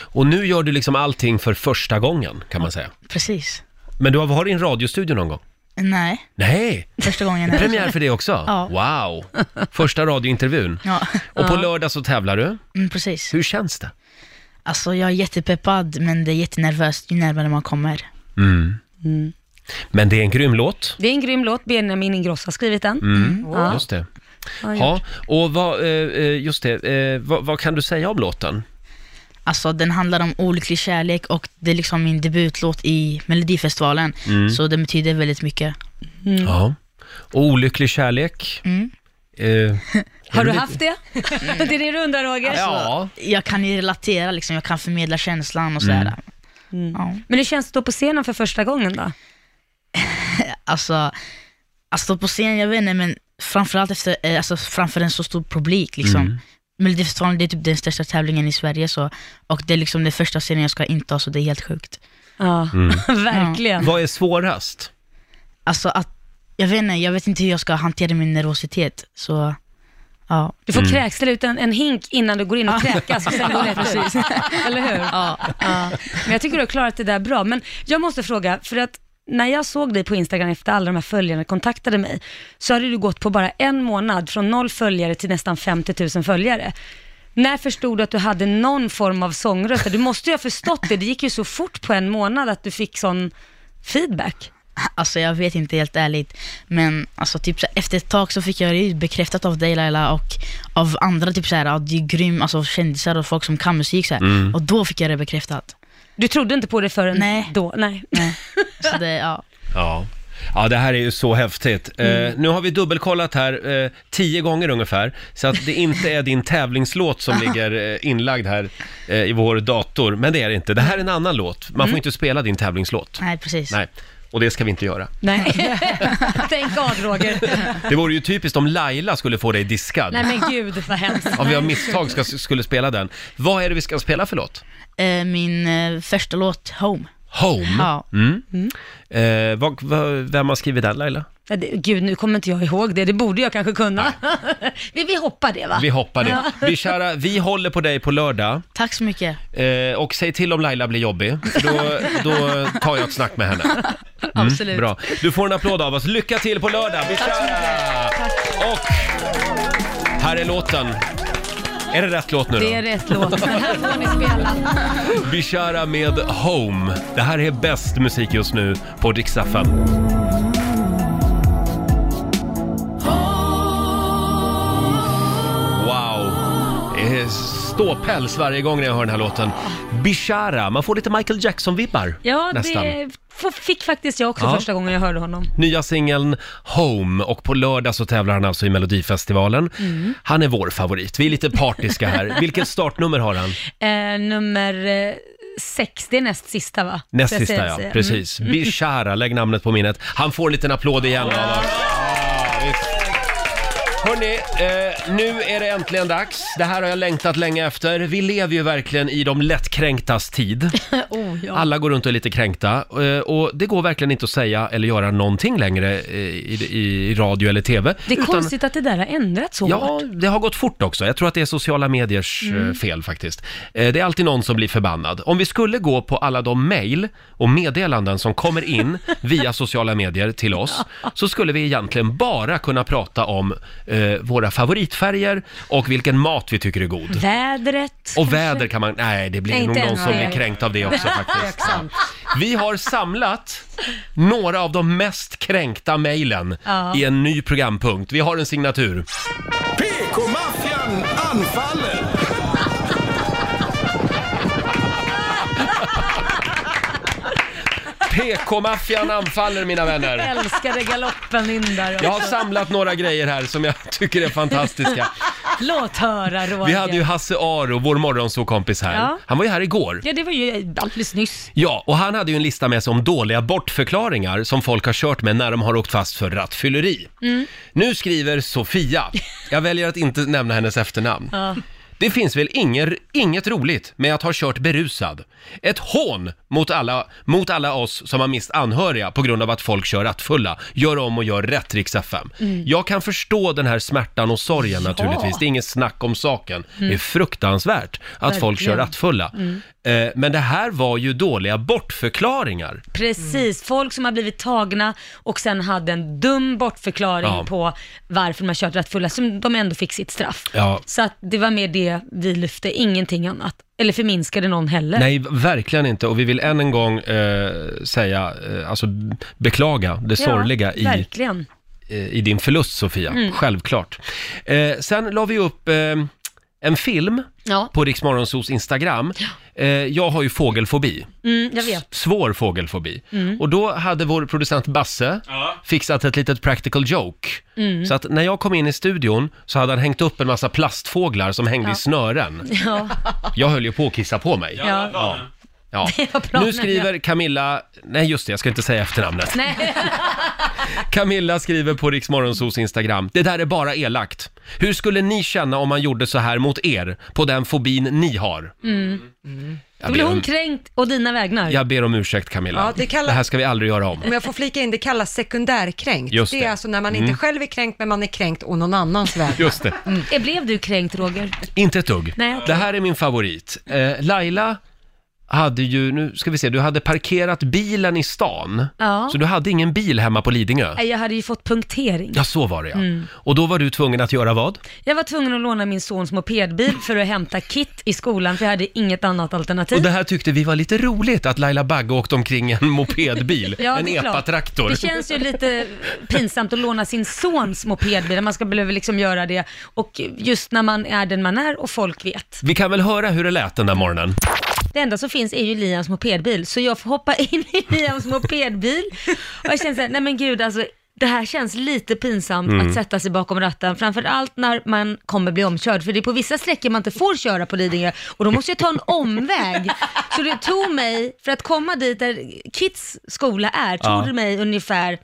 Och nu gör du liksom allting för första gången kan man säga.
Precis.
Men du har varit i en radiostudio någon gång?
Nej,
Nej!
första gången. här.
Premiär för det också?
Ja.
Wow! Första radiointervjun.
Ja,
Och på lördag så tävlar du.
mm, precis.
Hur känns det?
Alltså jag är jättepeppad men det är jättenervöst ju närmare man kommer.
Mm. Men det är en grym låt.
Det är en grym låt, Benjamin Ingrosso har skrivit den.
Mm.
Ja.
Just det.
Ja,
Ja, och vad, eh, eh, just det, eh, vad, vad kan du säga om låten?
Alltså den handlar om olycklig kärlek och det är liksom min debutlåt i Melodifestivalen.
Mm.
Så den betyder väldigt mycket.
Mm.
Ja. Olycklig kärlek.
Mm.
Eh, är
Har du
lite-
haft det? Det är det du undrar Roger?
Mm. Ja.
Alltså, Jag kan ju relatera liksom, jag kan förmedla känslan och sådär.
Mm.
Ja.
Men hur känns det att stå på scenen för första gången då?
Alltså, att stå på scen, jag vet inte, men framförallt efter, eh, alltså, framför en så stor publik liksom.
Mm.
Melodifestivalen det är typ den största tävlingen i Sverige så, och det är liksom den första scenen jag ska inta så det är helt sjukt.
Ja,
Mm.
verkligen.
Vad är svårast?
Alltså att, jag vet inte, jag vet inte hur jag ska hantera min nervositet så, ja.
Du får
Mm.
kräksla ut en, en hink innan du går in och kräkas och sen går det rätt ut. Eller hur?
Ja.
Ja. Men jag tycker du har klarat det där bra. Men jag måste fråga, för att när jag såg dig på Instagram efter alla de här följarna kontaktade mig, så hade du gått på bara en månad från noll följare till nästan 50 000 följare. När förstod du att du hade någon form av sångröst? Du måste ju ha förstått det, det gick ju så fort på en månad att du fick sån feedback.
Alltså jag vet inte helt ärligt, men alltså, typ, så här, efter ett tag så fick jag det ju bekräftat av dig Laila och av andra typ så här, ja, du är grym, alltså kändisar och folk som kan musik så här.
Mm.
Och då fick jag det bekräftat.
Du trodde inte på det förrän
Nej.
då? Nej.
Så det, ja.
Ja. Ja, det här är ju så häftigt.
Mm.
Eh, nu har vi dubbelkollat här eh, tio gånger ungefär, så att det inte är din tävlingslåt som ligger eh, inlagd här eh, i vår dator. Men det är det inte. Det här är en annan låt. Man
Mm.
får inte spela din tävlingslåt.
Nej, precis.
Nej, och det ska vi inte göra.
Nej. Tänk av Roger.
Det vore ju typiskt om Laila skulle få dig diskad.
Nej men gud vad hemskt.
Om vi av misstag ska, skulle spela den. Vad är det vi ska spela för låt?
Eh, min eh, första låt, Home.
Home.
Ja.
Mm. Eh, vad, vad, vem har skrivit den Laila?
Nej, det- Gud, nu kommer inte jag ihåg det. Det borde jag kanske kunna. vi, vi hoppar det va?
Vi hoppar det. Vi, kära, vi håller på dig på lördag.
Tack så mycket.
Eh, och säg till om Laila blir jobbig, för då, då tar jag ett snack med henne. Mm,
Absolut.
Bra. Du får en applåd av oss. Lycka till på lördag! Vi kör! Och här är låten. Är det rätt låt nu då?
Det är rätt låt. Den här får ni spela.
Bishara med Home. Det här är bäst musik just nu på Dix FM. Wow! Det är Ståpäls varje gång när jag hör den här låten. Bishara, man får lite Michael Jackson-vibbar
Ja,
nästan.
det f- fick faktiskt jag också
Ja.
första gången jag hörde honom.
Nya singeln Home och på lördag så tävlar han alltså i Melodifestivalen.
Mm.
Han är vår favorit, vi är lite partiska här. Vilket startnummer har han?
Eh, nummer eh, sex, det är näst sista va?
Näst
Så jag Mm.
sista
säger-
ja,
säger-
precis. Bishara, lägg namnet på minnet. Han får en liten applåd igen av oss. Hörni, eh, nu är det äntligen dags. Det här har jag längtat länge efter. Vi lever ju verkligen i de lättkränktas tid.
Mm. Oh, ja.
Alla går runt och är lite kränkta eh, och det går verkligen inte att säga eller göra någonting längre eh, i, i, i radio eller TV.
Det är
Utan-
konstigt att det där har ändrats så
Ja,
hårt.
det har gått fort också. Jag tror att det är sociala mediers eh,
Mm.
fel faktiskt. Eh, Det är alltid någon som blir förbannad. Om vi skulle gå på alla de mejl och meddelanden som kommer in via sociala medier till oss, så skulle vi egentligen bara kunna prata om eh, våra favoritfärger och vilken mat vi tycker är god.
Vädret.
Och väder kan man... Nej, det blir
Nej,
nog
inte
någon
ens
som
det.
blir kränkt av det också faktiskt. Vi har samlat några av de mest kränkta mejlen
Ja.
i en ny programpunkt. Vi har en signatur.
PK-maffian anfaller!
PK-maffian anfaller mina vänner.
Älskade galoppen in där också.
Jag har samlat några grejer här som jag tycker är fantastiska.
Låt höra Roger.
Vi hade ju Hasse Aro, vår morgonsåkompis här.
Ja.
Han var ju här igår.
Ja, det var ju alldeles nyss.
Ja, och han hade ju en lista med sig om dåliga bortförklaringar som folk har kört med när de har åkt fast för rattfylleri.
Mm.
Nu skriver Sofia, jag väljer att inte nämna hennes efternamn.
Ja.
Det finns väl inger, inget roligt med att ha kört berusad. Ett hån mot alla, mot alla oss som har mist anhöriga på grund av att folk kör rattfulla. Gör om och gör rätt, Rix FM.
Mm.
Jag kan förstå den här smärtan och sorgen naturligtvis. Det är inget snack om saken. Det är fruktansvärt att folk kör
Mm. Verkligen. Mm.
rattfulla. Eh, men det här var ju dåliga bortförklaringar.
Precis,
Mm.
folk som har blivit tagna och sen hade en dum bortförklaring
Ja.
på varför de har kört rattfulla, som de ändå fick sitt straff.
Ja.
Så att det var mer det det vi lyfte, ingenting annat. Eller förminskade någon heller.
Nej, verkligen inte. Och vi vill än en gång eh, säga, eh, alltså beklaga det sorgliga
ja,
i,
Verkligen.
eh, i din förlust Sofia,
Mm.
självklart. Eh, sen la vi upp eh, en film
Ja.
på Riksmorgonsos Instagram. Eh, jag har ju fågelfobi.
Mm, jag vet.
S- Svår fågelfobi.
Mm.
Och då hade vår producent Basse fixat ett litet practical joke.
Mm.
Så att när jag kom in i studion så hade han hängt upp en massa plastfåglar som hängde i
Ja.
snören.
Ja.
Jag höll ju på att kissa på mig.
Ja, det var
ja.
planen.
Ja.
Det var planen,
nu skriver Camilla, nej just det, jag ska inte säga efternamnet.
Nej.
Camilla skriver på Riksmorgonsos Instagram, det där är bara elakt. Hur skulle ni känna om man gjorde så här mot er, på den fobin ni har?
Mm.
Jag
Då blir
ber om-
hon kränkt och dina vägnar.
Jag ber om ursäkt Camilla,
Ja, det kallar-
här ska vi aldrig göra om.
Om jag får flika in, det kallas sekundärkränkt.
Just
det.
det.
är alltså när man
Mm.
inte själv är kränkt, men man är kränkt å någon annans väg.
Just det,
Eh, Blev du kränkt Roger?
inte ett dugg.
Nej.
Det här är min favorit. Eh, Laila hade ju, nu ska vi se, du hade parkerat bilen i stan,
Ja.
så du hade ingen bil hemma på Lidingö.
Nej, Jag hade ju fått punktering.
Ja, så var det ja.
Mm.
Och då var du tvungen att göra vad?
Jag var tvungen att låna min sons mopedbil för att hämta kit i skolan för jag hade inget annat alternativ.
Och det här tyckte vi var lite roligt, att Laila Bagge åkte omkring i en mopedbil,
Ja,
en
det är klart.
epatraktor.
Det känns ju lite pinsamt att låna sin sons mopedbil, när man ska behöva liksom göra det. Och just när man är den man är och folk vet.
Vi kan väl höra hur det lät den där morgonen?
Det enda som finns är ju Liams mopedbil, så jag får hoppa in i Liams mopedbil. Och jag känner såhär, nej men gud alltså, det här känns lite pinsamt
Mm.
att sätta sig bakom ratten, framförallt när man kommer bli omkörd, för det är på vissa sträckor man inte får köra på Lidingö, och då måste jag ta en omväg. Så det tog mig, för att komma dit där Kits skola är, tog
Ja.
det mig ungefär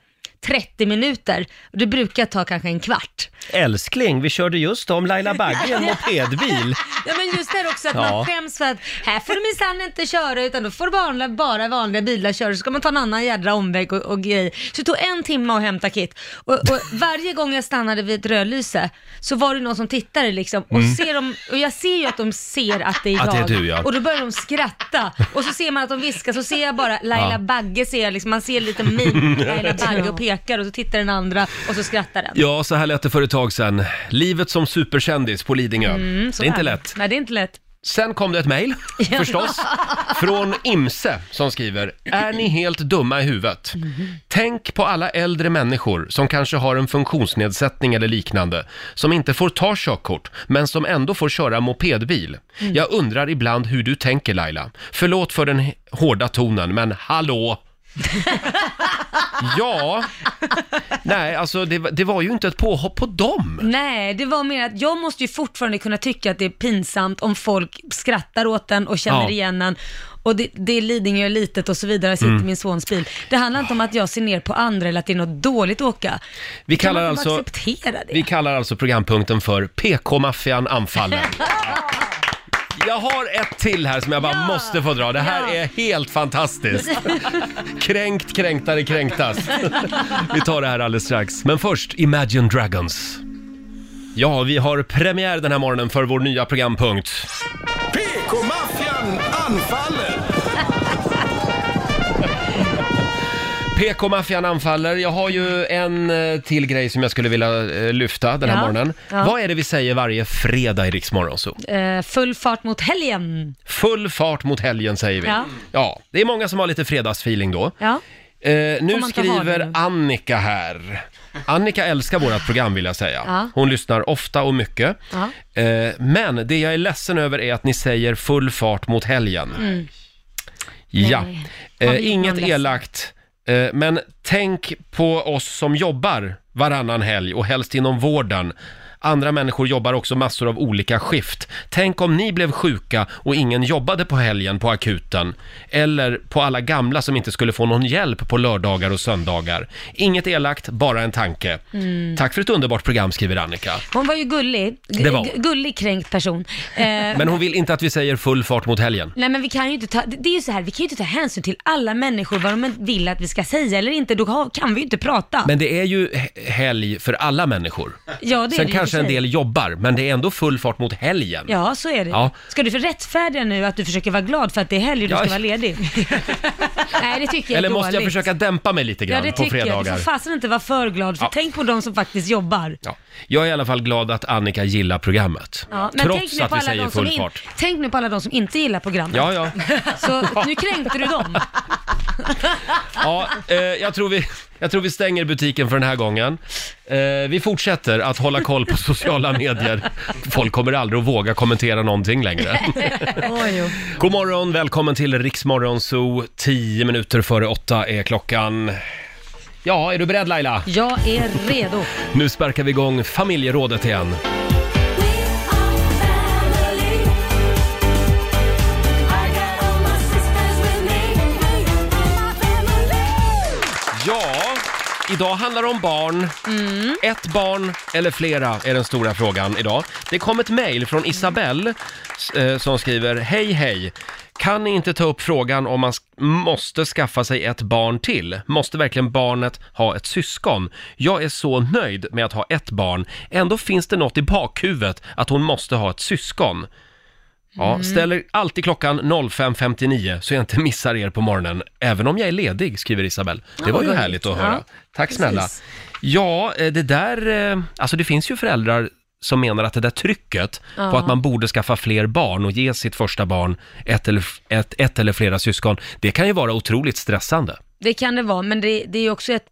30 minuter. Det brukar ta kanske en kvart.
Älskling, vi körde just om Laila Bagge i en mopedbil.
Ja men just det också att
Ja.
man skäms för att här får du minsann inte köra utan då får bara, bara vanliga bilar köra så ska man ta en annan jädra omväg och, och grejer. Så det tog en timme att hämta Kit och, och varje gång jag stannade vid ett rödlyse så var det någon som tittade liksom och,
Mm.
ser dem, och jag ser ju att de ser att det är jag.
Att det är du, ja.
Och då börjar de skratta och så ser man att de viskar så ser jag bara Laila
Ja.
Bagge ser jag liksom, man ser lite min Laila Bagge och pekar och så tittar den andra och så skrattar den.
Ja, så här lät det för ett tag sedan. Livet som superkändis på Lidingö.
Mm, så
det är inte
där.
lätt.
Nej det är inte lätt.
Sen kom det ett mejl, förstås, från Imse som skriver “Är ni helt dumma i huvudet? Tänk på alla äldre människor som kanske har en funktionsnedsättning eller liknande, som inte får ta körkort, men som ändå får köra mopedbil.
Mm.
Jag undrar ibland hur du tänker Laila. Förlåt för den h- hårda tonen, men hallå!” Ja, nej alltså det, var- det var ju inte ett påhopp på dem.
Nej, det var mer att jag måste ju fortfarande kunna tycka att det är pinsamt om folk skrattar åt den och känner
Ja.
igen den. Och det, det är Lidingö är litet och så vidare, jag sitter
Mm.
i min sons bil. Det handlar inte om att jag ser ner på andra eller att det är något dåligt att åka.
Vi
Kan
kallar
man inte bara
alltså...
acceptera det?
Vi kallar alltså programpunkten för PK-maffian anfaller. Jag har ett till här som jag bara måste få dra. Det här
Ja.
är helt fantastiskt. Kränkt, kränktare, kränktas. Vi tar det här alldeles strax. Men först Imagine Dragons. Ja, vi har premiär den här morgonen för vår nya programpunkt.
PK-maffian anfaller!
PK-maffian anfaller. Jag har ju en eh, till grej som jag skulle vilja eh, lyfta den här
Ja.
morgonen.
Ja.
Vad är det vi säger varje fredag i Rix Morgon Zoo?
Eh, full fart mot helgen.
Full fart mot helgen säger vi. Ja.
Ja.
det är många som har lite fredagsfeeling då.
Ja.
Eh, nu
man ta
skriver
varning nu?
Annika här. Annika älskar vårt program vill jag säga.
Ja.
Hon lyssnar ofta och mycket.
Ja.
Eh, men det jag är ledsen över är att ni säger full fart mot helgen.
Mm.
Ja,
Har vi
eh,
gjort
inget
någon ledsen?
elakt. Eh, men tänk på oss som jobbar varannan helg och helst inom vården. Andra människor jobbar också massor av olika skift. Tänk om ni blev sjuka och ingen jobbade på helgen på akuten. Eller på alla gamla som inte skulle få någon hjälp på lördagar och söndagar. Inget elakt, bara en tanke.
Mm.
Tack för ett underbart program, skriver Annika.
Hon var ju gullig. Gu-
Det var hon.
gu- Gullig kränkt person. Eh,
Men hon vill inte att vi säger full fart mot helgen.
Nej men vi kan ju inte ta, det det är ju så här, vi kan ju inte ta hänsyn till alla människor vad de vill att vi ska säga eller inte, då har- kan vi ju inte prata.
Men det är ju he- helg för alla människor.
Ja, det är
Sen
det ju
kanske kanske en
säger.
del jobbar, men det är ändå full fart mot helgen.
Ja, så är det.
Ja.
Ska du för rättfärdiga nu att du försöker vara glad för att det är helg och du
Ja.
ska vara ledig? Nej, det tycker jag är
Eller måste
dåligt.
jag försöka dämpa mig lite
Ja,
grann
det
på
tycker jag. Du
fredagar?
får fasen inte vara för glad, för
Ja.
tänk på de som faktiskt jobbar.
Ja. Jag är i alla fall glad att Annika gillar programmet.
Ja, men tänk
Trots
nu
att
på
vi
alla
säger
de som
full
in,
fart.
Tänk nu på alla de som inte gillar programmet.
Ja, ja.
Så nu kränkte du dem.
ja eh, jag, tror vi, jag tror vi stänger butiken för den här gången. Eh, vi fortsätter att hålla koll på sociala medier. Folk kommer aldrig att våga kommentera någonting längre.
Oj,
God morgon, välkommen till Riksmorgon Zoo. 10 minuter före åtta är klockan. Ja, är du beredd Laila?
jag är redo.
Nu sparkar vi igång familjerådet igen. Ja, idag handlar det om barn. Ett barn eller flera är den stora frågan idag. Det kom ett mejl från Isabelle eh, som skriver Hej hej! Kan ni inte ta upp frågan om man sk- måste skaffa sig ett barn till? Måste verkligen barnet ha ett syskon? Jag är så nöjd med att ha ett barn. Ändå finns det något i bakhuvudet att hon måste ha ett syskon. Ja, ställer alltid klockan 05.59 så jag inte missar er på morgonen, även om jag är ledig, skriver Isabel. Det
Ja,
var ju
vad
härligt att
gulligt.
höra.
Ja,
Tack
precis.
snälla. Ja, eh, det där, eh, alltså det finns ju föräldrar som menar att det där trycket på
Ja.
att man borde skaffa fler barn och ge sitt första barn ett eller, f- ett, ett eller flera syskon, det kan ju vara otroligt stressande.
Det kan det vara, men det, det är ju också ett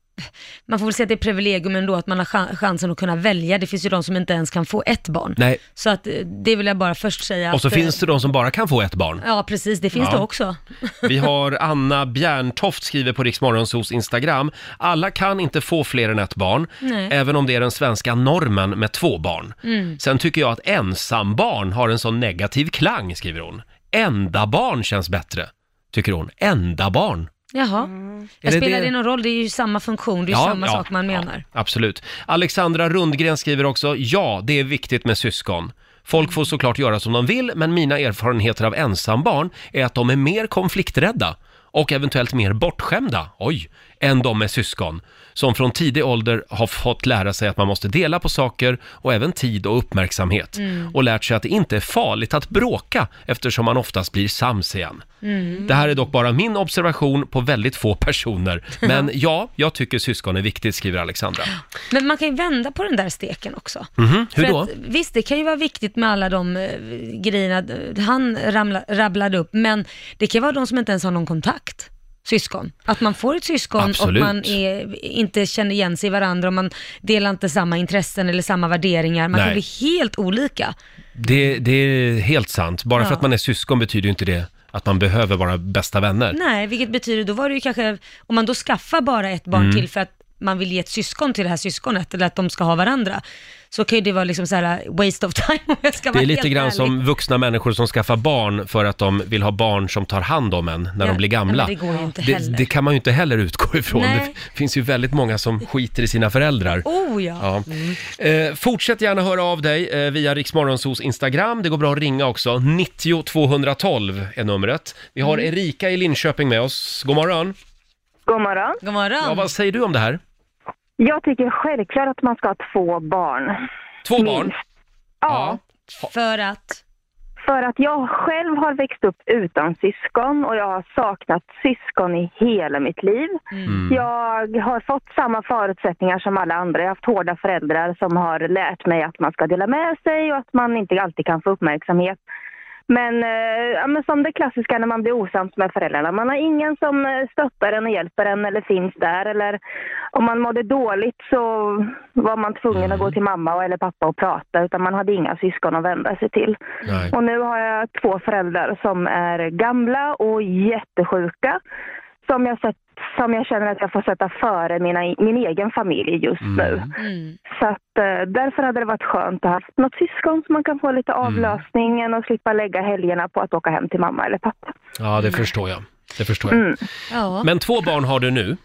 man får väl säga att det är privilegium ändå att man har chan- chansen att kunna välja. Det finns ju de som inte ens kan få ett barn.
Nej,
Så att eh, det vill jag bara först säga.
och så
att, eh,
finns det de som bara kan få ett barn.
Ja, precis. Det finns
Ja.
det också.
Vi har Anna Bjärntoft skriver på Riksmorgonsos Instagram. Alla kan inte få fler än ett barn,
Nej.
även om det är den svenska normen med två barn.
Mm.
Sen tycker jag att ensambarn har en sån negativ klang, skriver hon. Enda barn känns bättre, tycker hon. Enda barn.
Jaha. Jag
Eller
spelar
Mm. det-
det någon roll? Det är ju samma funktion, det är ju
Ja,
samma
ja,
sak man menar.
Absolut. Alexandra Rundgren skriver också, ja, det är viktigt med syskon. Folk får såklart göra som de vill, men mina erfarenheter av ensambarn är att de är mer konflikträdda och eventuellt mer bortskämda, oj, än de med syskon, som från tidig ålder har fått lära sig att man måste dela på saker och även tid och uppmärksamhet
Mm.
och lärt sig att det inte är farligt att bråka eftersom man oftast blir sams igen. Det här är dock bara min observation på väldigt få personer. Men ja, jag tycker syskon är viktigt, skriver Alexandra.
Men man kan ju vända på den där steken också.
Mhm, Hur
För
då?
Att, visst, det kan ju vara viktigt med alla de eh, grejerna eh, han ramla, rabblade upp, men det kan ju vara de som inte ens har någon kontakt, syskon. Att man får ett syskon
Absolut.
och man är, inte känner igen sig i varandra och man delar inte samma intressen eller samma värderingar. Man
Nej.
kan bli helt olika.
Det, det är helt sant. Bara för
Ja.
att man är syskon betyder ju inte det att man behöver vara bästa vänner.
Nej, vilket betyder, då var det ju kanske, om man då skaffar bara ett barn
Mm.
till för att man vill ge ett syskon till det här syskonet, eller att de ska ha varandra, så kan ju det vara liksom så här waste of time om jag ska
Det
vara
är lite
helt
grann
ärlig.
som vuxna människor som skaffar barn för att de vill ha barn som tar hand om en när
Ja,
de blir gamla.
men det går ju inte
det,
heller.
det kan man ju inte heller utgå ifrån.
Nej.
Det finns ju väldigt många som skiter i sina föräldrar.
Oh ja. Mm.
Ja. Eh, fortsätt gärna höra av dig eh, via Riksmorgonsos Instagram. Det går bra att ringa också. 90 212 är numret. Vi har
Mm.
Erika i Linköping med oss. God morgon.
God morgon.
God morgon.
Ja, vad säger du om det här?
Jag tycker självklart att man ska ha två barn.
Två barn?
Ja.
För att?
För att jag själv har växt upp utan syskon och jag har saknat syskon i hela mitt liv.
Mm.
Jag har fått samma förutsättningar som alla andra. Jag har haft hårda föräldrar som har lärt mig att man ska dela med sig och att man inte alltid kan få uppmärksamhet. Men, eh, ja, men som det klassiska när man blir osams med föräldrarna. Man har ingen som eh, stöttar en och hjälper en eller finns där. Eller om man mådde dåligt så var man tvungen
Mm.
att gå till mamma och- eller pappa och prata. Utan man hade inga syskon att vända sig till.
Nej.
Och nu har jag två föräldrar som är gamla och jättesjuka. Som jag, sett, som jag känner att jag får sätta före mina, min egen familj just nu. Så att, eh, därför hade det varit skönt att ha haft något syskon så man kan få lite avlösningen och slippa lägga helgerna på att åka hem till mamma eller pappa.
Ja, det förstår jag. Det förstår jag.
Mm.
Mm. Ja.
Men två barn har du nu.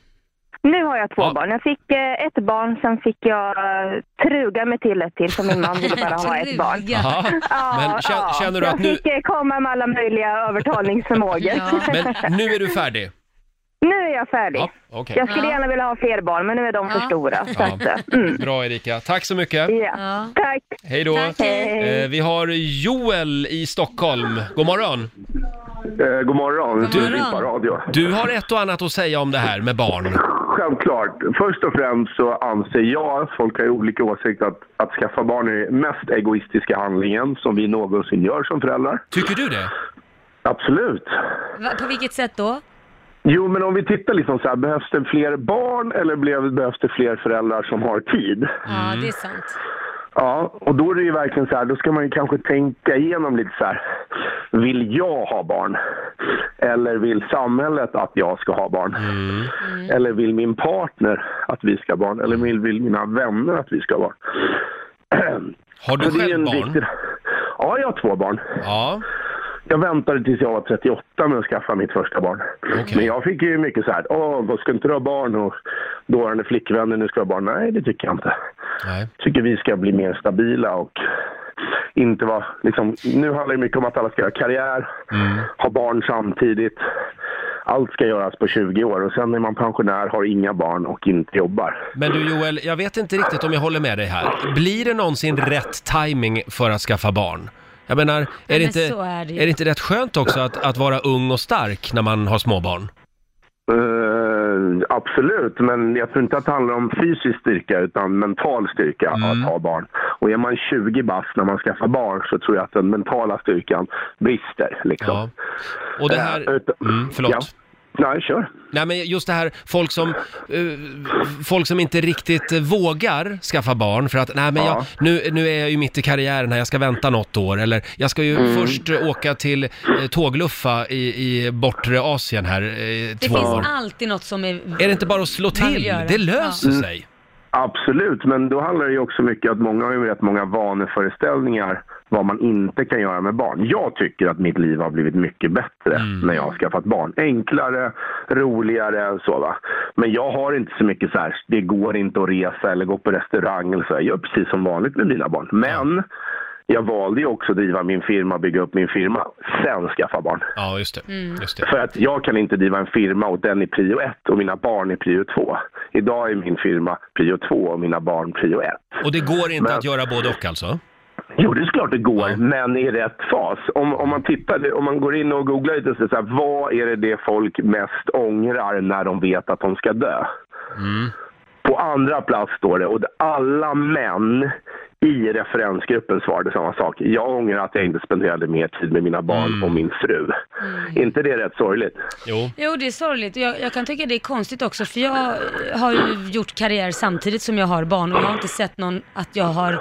Nu har jag två barn. Jag fick eh, ett barn, sen fick jag eh, truga mig till ett till för min man ville bara ha ett barn.
Jaha. Men kä- känner du
jag
att nu-
fick eh, komma med alla möjliga övertalningsförmågor.
Men nu är du färdig.
Nu är jag färdig.
Ja, okej.
Jag skulle
Ja.
gärna vilja ha fler barn, men nu är de för stora. Så att, eh, mm.
Bra Erika, tack så mycket.
ja. Tack!
Hej då.
Tack, hej.
Eh, vi har Joel i Stockholm. God morgon.
Eh, god morgon,
Du-
Filippa radio.
Du har ett och annat att säga om det här med barn.
Självklart. Först och främst så anser jag, folk har ju olika åsikter, att, att skaffa barn är den mest egoistiska handlingen som vi någonsin gör som föräldrar.
Tycker du det?
Absolut.
Va, på vilket sätt då?
Jo, men om vi tittar liksom så här, behövs det fler barn eller blev- behövs det fler föräldrar som har tid?
Mm.
Ja, det är sant.
Ja, och då är det ju verkligen så här, då ska man ju kanske tänka igenom lite så här. Vill jag ha barn? Eller vill samhället att jag ska ha barn?
Mm.
Eller vill min partner att vi ska ha barn? Eller vill, vill mina vänner att vi ska ha barn?
Har du själv barn?
Ja, jag har två barn.
Ja.
Jag väntade tills jag var 38 med att skaffa mitt första barn. Men jag fick ju mycket så här, åh, vad ska inte du ha barn? Och dåvarande flickvänner, nu ska jag ha barn. Nej, det tycker jag inte
Nej.
tycker vi ska bli mer stabila och inte vara, liksom, nu handlar det mycket om att alla ska göra karriär, ha barn samtidigt. Allt ska göras på 20 år och sen är man pensionär, har inga barn och inte jobbar.
Men du Joel, jag vet inte riktigt om jag håller med dig här. Blir det någonsin rätt timing för att skaffa barn? Jag menar, är,
men
det, inte,
så är det ju.
det inte rätt skönt också att, att vara ung och stark när man har småbarn?
Eh, absolut, men jag tror inte att det handlar om fysisk styrka utan mental styrka att ha barn. Och är man 20 bast när man skaffar barn så tror jag att den mentala styrkan brister. Liksom.
Och det här... Mm, förlåt.
Nej, kör.
Nej men just det här, folk som, eh, folk som inte riktigt eh, vågar skaffa barn för att, nej men jag,
Ja.
nu, nu är jag ju mitt i karriären här, jag ska vänta något år eller jag ska ju
Mm.
först eh, åka till eh, tågluffa i, i bortre Asien här, eh,
Det
två
finns
år.
alltid något som är...
Är det inte bara att slå
Man vill
till?
göra.
Det löser
Ja.
sig.
Absolut, men då handlar det ju också mycket om att många har ju rätt många vaneföreställningar vad man inte kan göra med barn. Jag tycker att mitt liv har blivit mycket bättre när jag har skaffat barn. Enklare, roligare så va. Men jag har inte så mycket så här, det går inte att resa eller gå på restaurang eller så. här. Jag gör precis som vanligt med mina barn. Men jag valde ju också att driva min firma, bygga upp min firma, sen skaffa barn.
Ja, just det.
Mm.
Just det.
För att jag kan inte driva en firma och den är prio ett och mina barn är prio två. Idag är min firma prio två och mina barn prio ett.
Och det går inte
Men-
att göra både och alltså?
Jo, det är klart det går, men i rätt fas. Om, om man tittar, om man går in och googlar lite, så är det så här, vad är det det folk mest ångrar när de vet att de ska dö?
Mm.
På andra plats står det, och alla män i referensgruppen svarade samma sak. Jag ångrar att jag inte spenderade mer tid med mina barn och min fru. inte det rätt sorgligt?
Mm. Jo.
Jo, det är sorgligt. Jag, jag kan tycka det är konstigt också, för jag har ju gjort karriär samtidigt som jag har barn och jag har inte sett någon att jag har...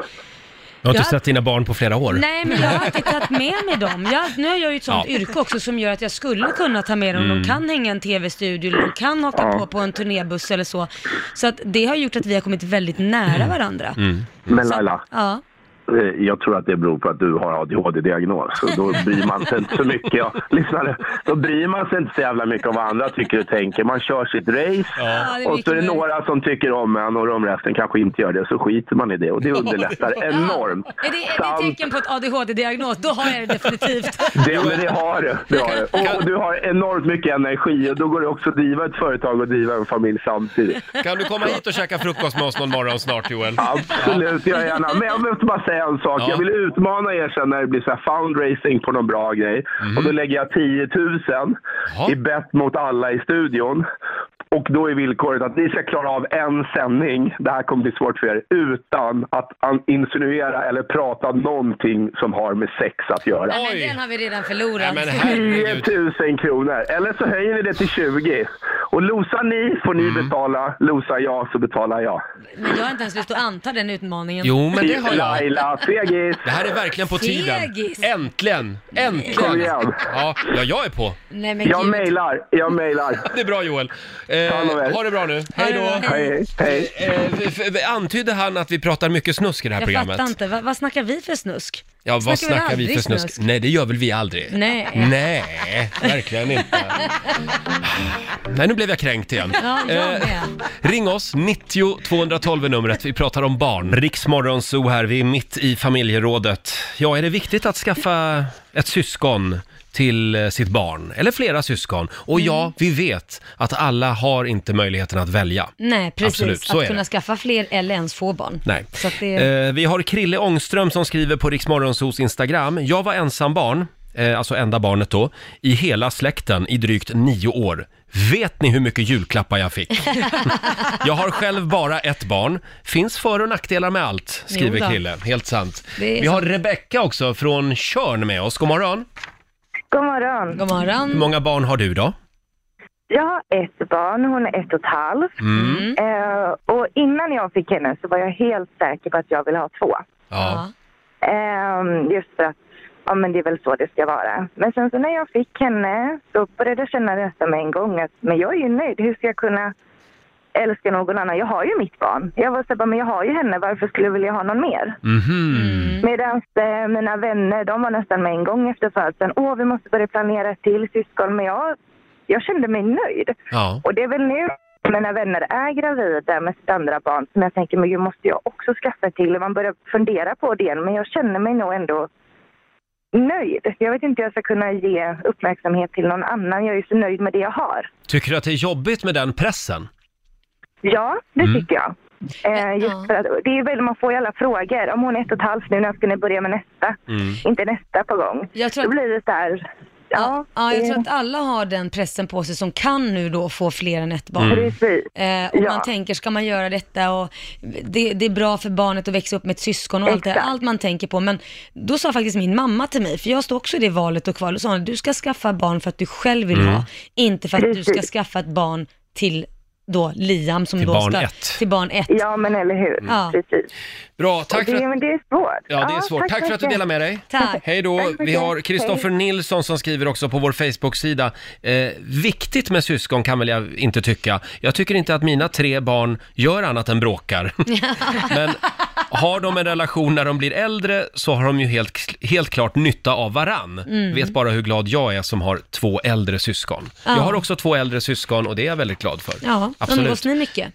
Jag har inte
Jag-
sett dina barn på flera år.
Nej, men jag har alltid tagit med mig dem. Jag, nu har jag ju ett sånt
Ja.
yrke också som gör att jag skulle kunna ta med dem.
Mm.
De kan hänga i en tv-studio, eller de kan haka
Ja.
på på en turnébuss eller så. Så att det har gjort att vi har kommit väldigt
Mm.
nära varandra.
Men Laila,
Ja.
eh, jag tror att det beror på att du har ADHD-diagnos. Så Då bryr man sig inte så mycket. Ja, lyssna nu. Då bryr man sig inte så jävla mycket om vad andra tycker och tänker. Man kör sitt race
Ja, det är
och så är det
mycket
några som tycker om en och de resten kanske inte gör det. Så skiter man i det och det underlättar enormt.
Är det, är det tecken på ett ADHD-diagnos, då har jag det definitivt.
Det, men det har du. Det har du. Och, och du har enormt mycket energi och då går det också att driva ett företag och driva en familj samtidigt.
Kan du komma hit och käka frukost med oss någon morgon snart Joel?
Absolut, gör jag gärna. Men jag måste bara säga en sak.
Ja.
Jag vill utmana er sen när det blir så här fundraising på någon bra grej. Och då lägger jag 10 000 i bett mot alla i studion. Och då är villkoret att ni ska klara av en sändning, det här kommer bli svårt för er, utan att an- insinuera eller prata någonting som har med sex att göra.
Nej, men den har vi redan förlorat.
10 000 kronor, eller så höjer vi det till 20. Och losar ni får ni betala, losar jag så betalar jag.
Men jag har inte ens lust att anta den utmaningen.
Jo, men det har jag.
Laila, fegis!
Det här är verkligen på tiden.
Fegis.
Äntligen! Äntligen!
Kom igen.
Ja, ja, jag är på.
Nej, men
Jag
gud.
mejlar, jag mejlar.
Det är bra Joel. Eh, ha det bra nu. Hej då!
Hej, hej.
Eh, f- f- antydde han att vi pratar mycket snusk i det här
Jag
programmet?
fattar inte, vad, vad snackar vi för snusk?
Ja, vad
Snackar vi
snackar vi
aldrig
för snusk?
snusk?
Nej, det gör väl vi aldrig?
Nej.
Nej, verkligen inte. Nej, nu blev blev jag kränkt igen.
Ja, jag
Eh,
med.
Ring oss, 90 212 är numret. Vi pratar om barn. Riksmorgon Zoo här, vi är mitt i familjerådet. Ja, är det viktigt att skaffa ett syskon till eh, sitt barn? Eller flera syskon? Och ja, vi vet att alla har inte möjligheten att välja.
Nej, precis.
Absolut, så
att
är
kunna
det.
skaffa fler eller ens få barn.
Nej.
Så att det...
Eh, vi har Krille Ångström som skriver på Riksmorgonsos Instagram. Jag var ensam barn, eh, alltså enda barnet då, i hela släkten i drygt nio år. Vet ni hur mycket julklappar jag fick? jag har själv bara ett barn. Finns för och nackdelar med allt,
Jo
skriver
då.
Krille. Helt sant.
Det är
Vi har
sant.
Rebecka också från Körn med oss. God morgon.
God morgon.
God morgon.
Hur många barn har du då?
Jag har ett barn, hon är ett och ett halvt.
Mm.
Eh, och innan jag fick henne så var jag helt säker på att jag ville ha två.
Ja.
Eh, just för att ja, men det är väl så det ska vara. Men sen så när jag fick henne så började jag känna detta med en gång att men jag är ju nöjd. Hur ska jag kunna älska någon annan? Jag har ju mitt barn. Jag var så här, bara, men jag har ju henne. Varför skulle jag vilja ha någon mer?
Mhm.
Medan eh, mina vänner, de var nästan med en gång efter födseln. Åh, vi måste börja planera ett till syskon. Men jag, jag kände mig nöjd.
Ja.
Och det är väl nu mina vänner är gravida med sitt andra barn som jag tänker, men gud, måste jag också skaffa ett till? Och man börjar fundera på det igen. Men jag känner mig nog ändå nöjd. Jag vet inte hur jag ska kunna ge uppmärksamhet till någon annan. Jag är ju så nöjd med det jag har.
Tycker du att det är jobbigt med den pressen? Mm.
Ja, det tycker jag. Eh, just för att, det är väl, man får ju alla frågor. Om hon är ett och ett halvt nu, när ska ni börja med nästa? Inte nästa på gång.
Jag tror
Då blir det så här... Ja,
Ja, jag
det-
tror att alla har den pressen på sig som kan nu då få fler än ett barn.
Mm. Precis.
Eh, och
Ja.
man tänker, ska man göra detta och det, det är bra för barnet att växa upp med ett syskon och allt det,
Exakt.
allt man tänker på. Men då sa faktiskt min mamma till mig, för jag stod också i det valet och kvalet, och sa hon, du ska skaffa barn för att du själv vill
Mm.
ha, inte för att du ska
Precis.
skaffa ett barn till då Liam som
Till
då
barn
ska,
ett.
till barn ett.
Ja, men eller hur.
Ja.
Precis.
Bra, tack för
det,
att...
men det är svårt.
Ja, det är svårt. Tack, för att du
mycket.
delar med dig.
Tack.
Hej då.
Tack så mycket.
Vi har Kristoffer
Hej.
Nilsson som skriver också på vår Facebook-sida. Eh, viktigt med syskon kan väl jag inte tycka. Jag tycker inte att mina tre barn gör annat än bråkar. Men har de en relation när de blir äldre så har de ju helt, helt klart nytta av varann.
Mm.
Vet bara hur glad jag är som har två äldre syskon.
Ja.
Jag har också två äldre syskon och det är jag väldigt glad för.
Ja, umgås
Absolut.
ni mycket?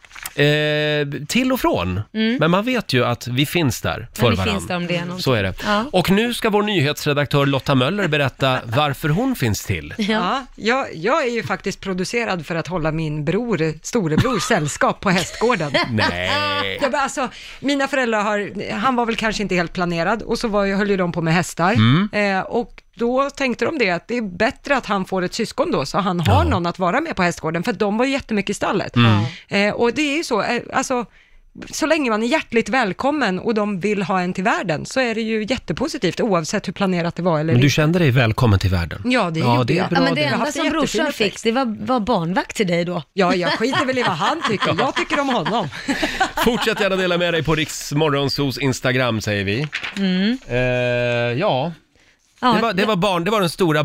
Eh, till och från.
Mm.
Men man vet ju att vi finns där för
Men vi
varann.
finns där om det är någonting.
Så är det.
Ja.
Och nu ska vår nyhetsredaktör Lotta Möller berätta varför hon finns till.
Ja, jag, jag är ju faktiskt producerad för att hålla min bror, storebror, sällskap på hästgården.
Nej.
Jag bara, alltså, mina föräldrar har, han var väl kanske inte helt planerad och så var, ju- höll ju de på med hästar.
Mm.
Eh, och då tänkte de det, att det är bättre att han får ett syskon då, så han har någon att vara med på hästgården, för de var ju jättemycket i stallet.
Mm.
Eh, och det är ju så, eh, alltså, så länge man är hjärtligt välkommen och de vill ha en till världen, så är det ju jättepositivt, oavsett hur planerat det var eller
Men du
inte.
kände dig välkommen till världen?
Ja, det
ja,
gjorde
det är
jag.
bra
ja, men det
det.
Jag har
enda
haft
som
en
brorsan
jättefin
fick, det var, var barnvakt till dig då.
Ja, jag skiter väl i vad han tycker, jag tycker om honom.
Fortsätt gärna dela med dig på Riksmorgonsos Instagram säger vi.
Mm.
Eh, ja.
Ja,
det, var, det, var barn, det var den stora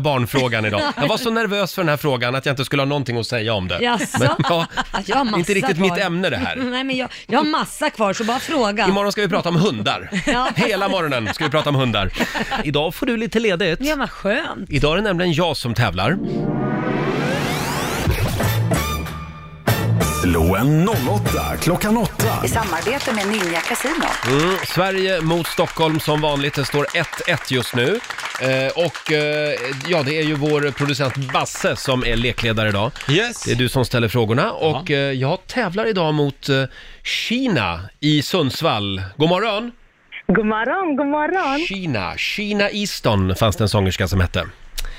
barnfrågan idag. Jag var så nervös för den här frågan att jag inte skulle ha någonting att säga om det.
Jaså?
Men, ja,
Att jag har massa
inte riktigt
kvar.
mitt ämne det här.
Nej, men jag, jag har massa kvar, så bara fråga.
Imorgon ska vi prata om hundar. Hela morgonen ska vi prata om hundar. Idag får du lite ledigt.
Ja, vad skönt.
Idag är det nämligen jag som tävlar.
Slå en 08 klockan 8.
I samarbete med Ninja Casino.
Mm, Sverige mot Stockholm som vanligt. Det står 1-1 just nu. Eh, och eh, ja, det är ju vår producent Basse som är lekledare idag.
Yes.
Det är du som ställer frågorna. Och eh, jag tävlar idag mot eh, Kina i Sundsvall. God morgon!
God morgon, god morgon.
Kina, Kina Easton fanns det en sångerska som hette.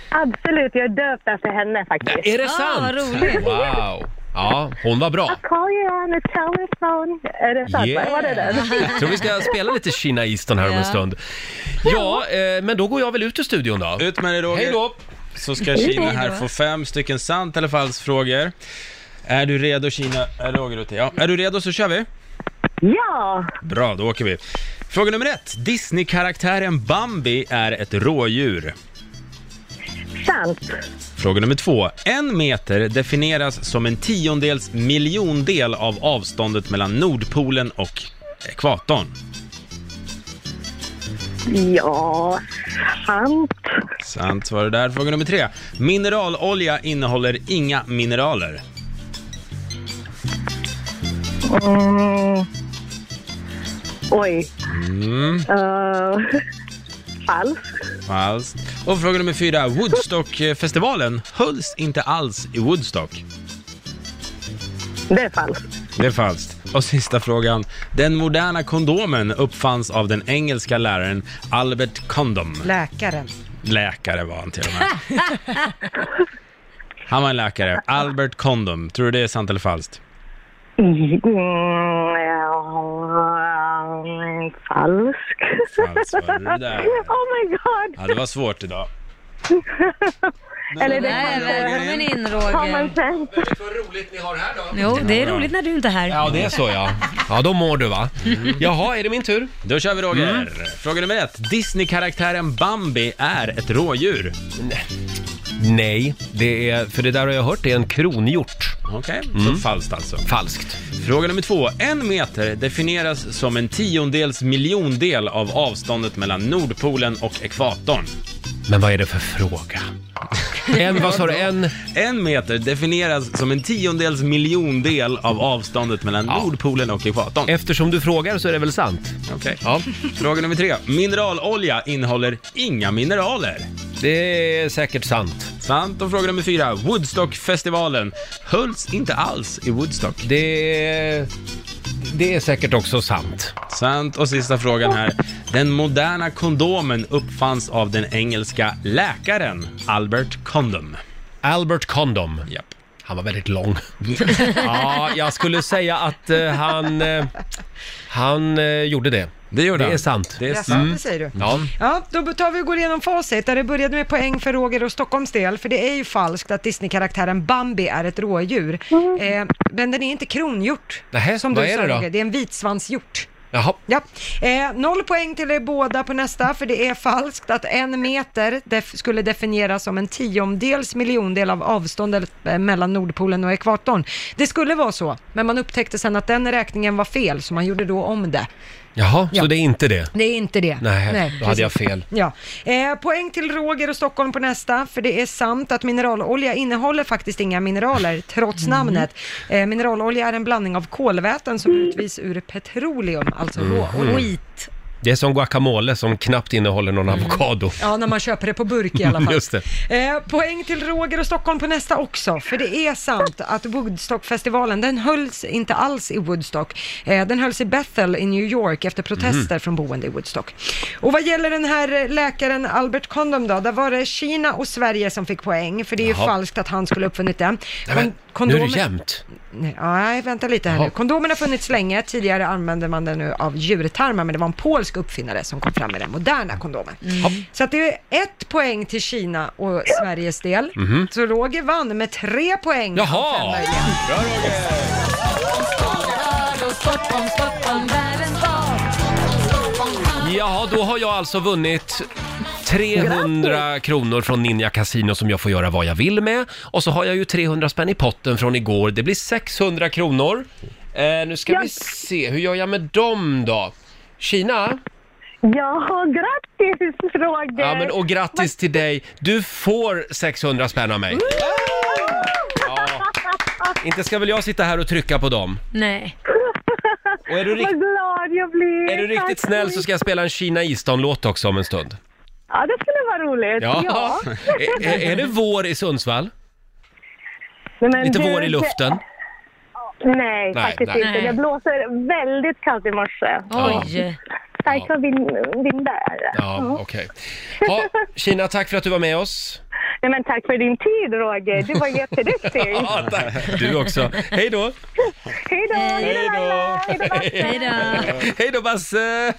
Absolut, jag är döpt efter henne faktiskt.
Ah,
Är det sant? Wow! Ja, hon var bra.
I call you on the telephone. Är det sant?
Yeah.
Var det den?
Jag tror vi ska spela lite Kina Easton här om en
Ja.
stund. Ja, eh, men då går jag väl ut ur studion då.
Ut med dig Roger.
Hej då!
Så ska Kina här
Hej då.
få fem stycken sant eller falskt frågor. Är du redo Kina? Är Roger ute? Ja. Är du redo så kör vi.
Ja!
Bra, då åker vi. Fråga nummer ett. Disney-karaktären Bambi är ett rådjur.
Sant.
Fråga nummer två. En meter definieras som en tiondels miljondel av avståndet mellan Nordpolen och ekvatorn.
Ja, sant.
Sant var det där. Fråga nummer tre. Mineralolja innehåller inga mineraler.
Mm. Oj.
Mm.
Eh, falskt.
Falskt. Och fråga nummer fyra. Woodstockfestivalen hölls inte alls i Woodstock.
Det är falskt.
Det är falskt. Och sista frågan. Den moderna kondomen uppfanns av den engelska läraren Albert Condom.
Läkaren.
Läkare var han till och med. Han var en läkare. Albert Condom. Tror du det är sant eller falskt?
Mm, ja, falsk.
Alltså,
Falskt var det där.
Oh my god.
Ja, det var svårt idag.
Eller det
Nej,
kanske är
välkommen in Roger.
common sense.
Jo, det är roligt när du inte är här.
Ja, det är så ja. Ja, då mår du va? Jaha, är det min tur? Mm.
Då kör vi Roger. Fråga nummer ett. Disney-karaktären Bambi är ett rådjur.
Nej, det är, för det där har jag hört, det är en kronhjort.
Okej,
Mm.
så falskt alltså.
Falskt.
Fråga nummer två. En meter definieras som en tiondels miljondel av avståndet mellan Nordpolen och ekvatorn.
Men vad är det för fråga? En, vad sa du, en?
En meter definieras som en tiondels miljondel av avståndet mellan Nordpolen och ekvatorn.
Eftersom du frågar så är det väl sant?
Okej. Fråga nummer tre. Mineralolja innehåller inga mineraler.
Det är säkert sant.
Sant. Och fråga nummer fyra. Woodstockfestivalen hölls inte alls i Woodstock.
Det... Det är säkert också sant.
Sant. Och sista frågan här. Den moderna kondomen uppfanns av den engelska läkaren Albert Condom.
Albert Condom.
Japp.
Han var väldigt lång. ja, jag skulle säga att eh, han... Eh, han eh, gjorde det.
Det gjorde
Det
han.
är sant.
Det är
Jaså,
Mm.
det säger du.
Ja.
Ja, då tar vi och går igenom facit där det började med poäng för Roger och Stockholms del, för det är ju falskt att Disney-karaktären Bambi är ett rådjur. Eh, men den är inte kronhjort,
Nähä,
som
vad
du
är
sa
det då?
Roger. Det är en vitsvanshjort.
Jaha.
Ja. Eh, noll poäng till er båda på nästa, för det är falskt att en meter def- skulle definieras som en tiondels miljondel av avståndet eh, mellan Nordpolen och ekvatorn. Det skulle vara så, men man upptäckte sen att den räkningen var fel, så man gjorde då om det.
Jaha,
Ja.
så det är inte det?
Det är inte det.
Nej, då hade
precis.
jag fel.
Ja. Eh, poäng till Roger och Stockholm på nästa, för det är sant att mineralolja innehåller faktiskt inga mineraler, trots
Mm.
namnet. Eh, mineralolja är en blandning av kolväten som
Mm.
utvis ur petroleum, alltså
Mhm.
råolja.
Skit.
Det är som guacamole som knappt innehåller någon avokado.
Mm. Ja, när man köper det på burk i alla fall.
Just det.
Eh, poäng till Roger och Stockholm på nästa också, för det är sant att Woodstockfestivalen, den hölls inte alls i Woodstock. Eh, den hölls i Bethel i New York efter
Mhm.
protester från boende i Woodstock. Och vad gäller den här eh, läkaren Albert Condom då, där var det Kina och Sverige som fick poäng, för det är ju
Jaha.
falskt att han skulle ha uppfunnit den.
Nej, men,
Kon-
nu är det
kondomen-
jämnt.
Nej, nej, vänta lite här
Jaha.
nu. Kondomen har funnits länge. Tidigare använde man den nu av djurtarmar, men det var en polsk uppfinnare som kom fram med den moderna kondomen.
Mm.
Så att det är ett poäng till Kina och Sveriges del.
Mhm.
Så Roger vann med tre poäng. av fem
Jaha!
möjliga.
Jaha, då har jag alltså vunnit 300 kronor från Ninja Casino som jag får göra vad jag vill med. Och så har jag ju 300 spänn i potten från igår. Det blir 600 kronor. Eh, nu ska vi se, hur gör jag med dem då? Kina?
Ja, grattis Roger!
Ja, men, och grattis till dig. Du får 600 spänn av mig. Ja. Inte ska väl jag sitta här och trycka på dem?
Nej.
Och är du, rikt-
Vad glad jag blir!
är du riktigt
Tack
snäll
så
så ska jag spela en Kina Istan-låt också om en stund.
Ja, det skulle vara roligt.
Ja.
Ja.
Är, är- är det vår i Sundsvall?
Nej, men
Lite
du-
vår i luften?
Nej,
Nej,
faktiskt
nej.
inte. Det blåser väldigt kallt i morse.
Oj.
Starkt ja. vind, vind där.
Ja, okej. Ha, Kina, tack för att du var med oss.
Nej, men tack för din tid, Roger. Du var jätteduktig.
Ja, tack. Du också. Hej då!
Hej då! Hej då, alla. Hej då!
Hej då.
Hej då Basse!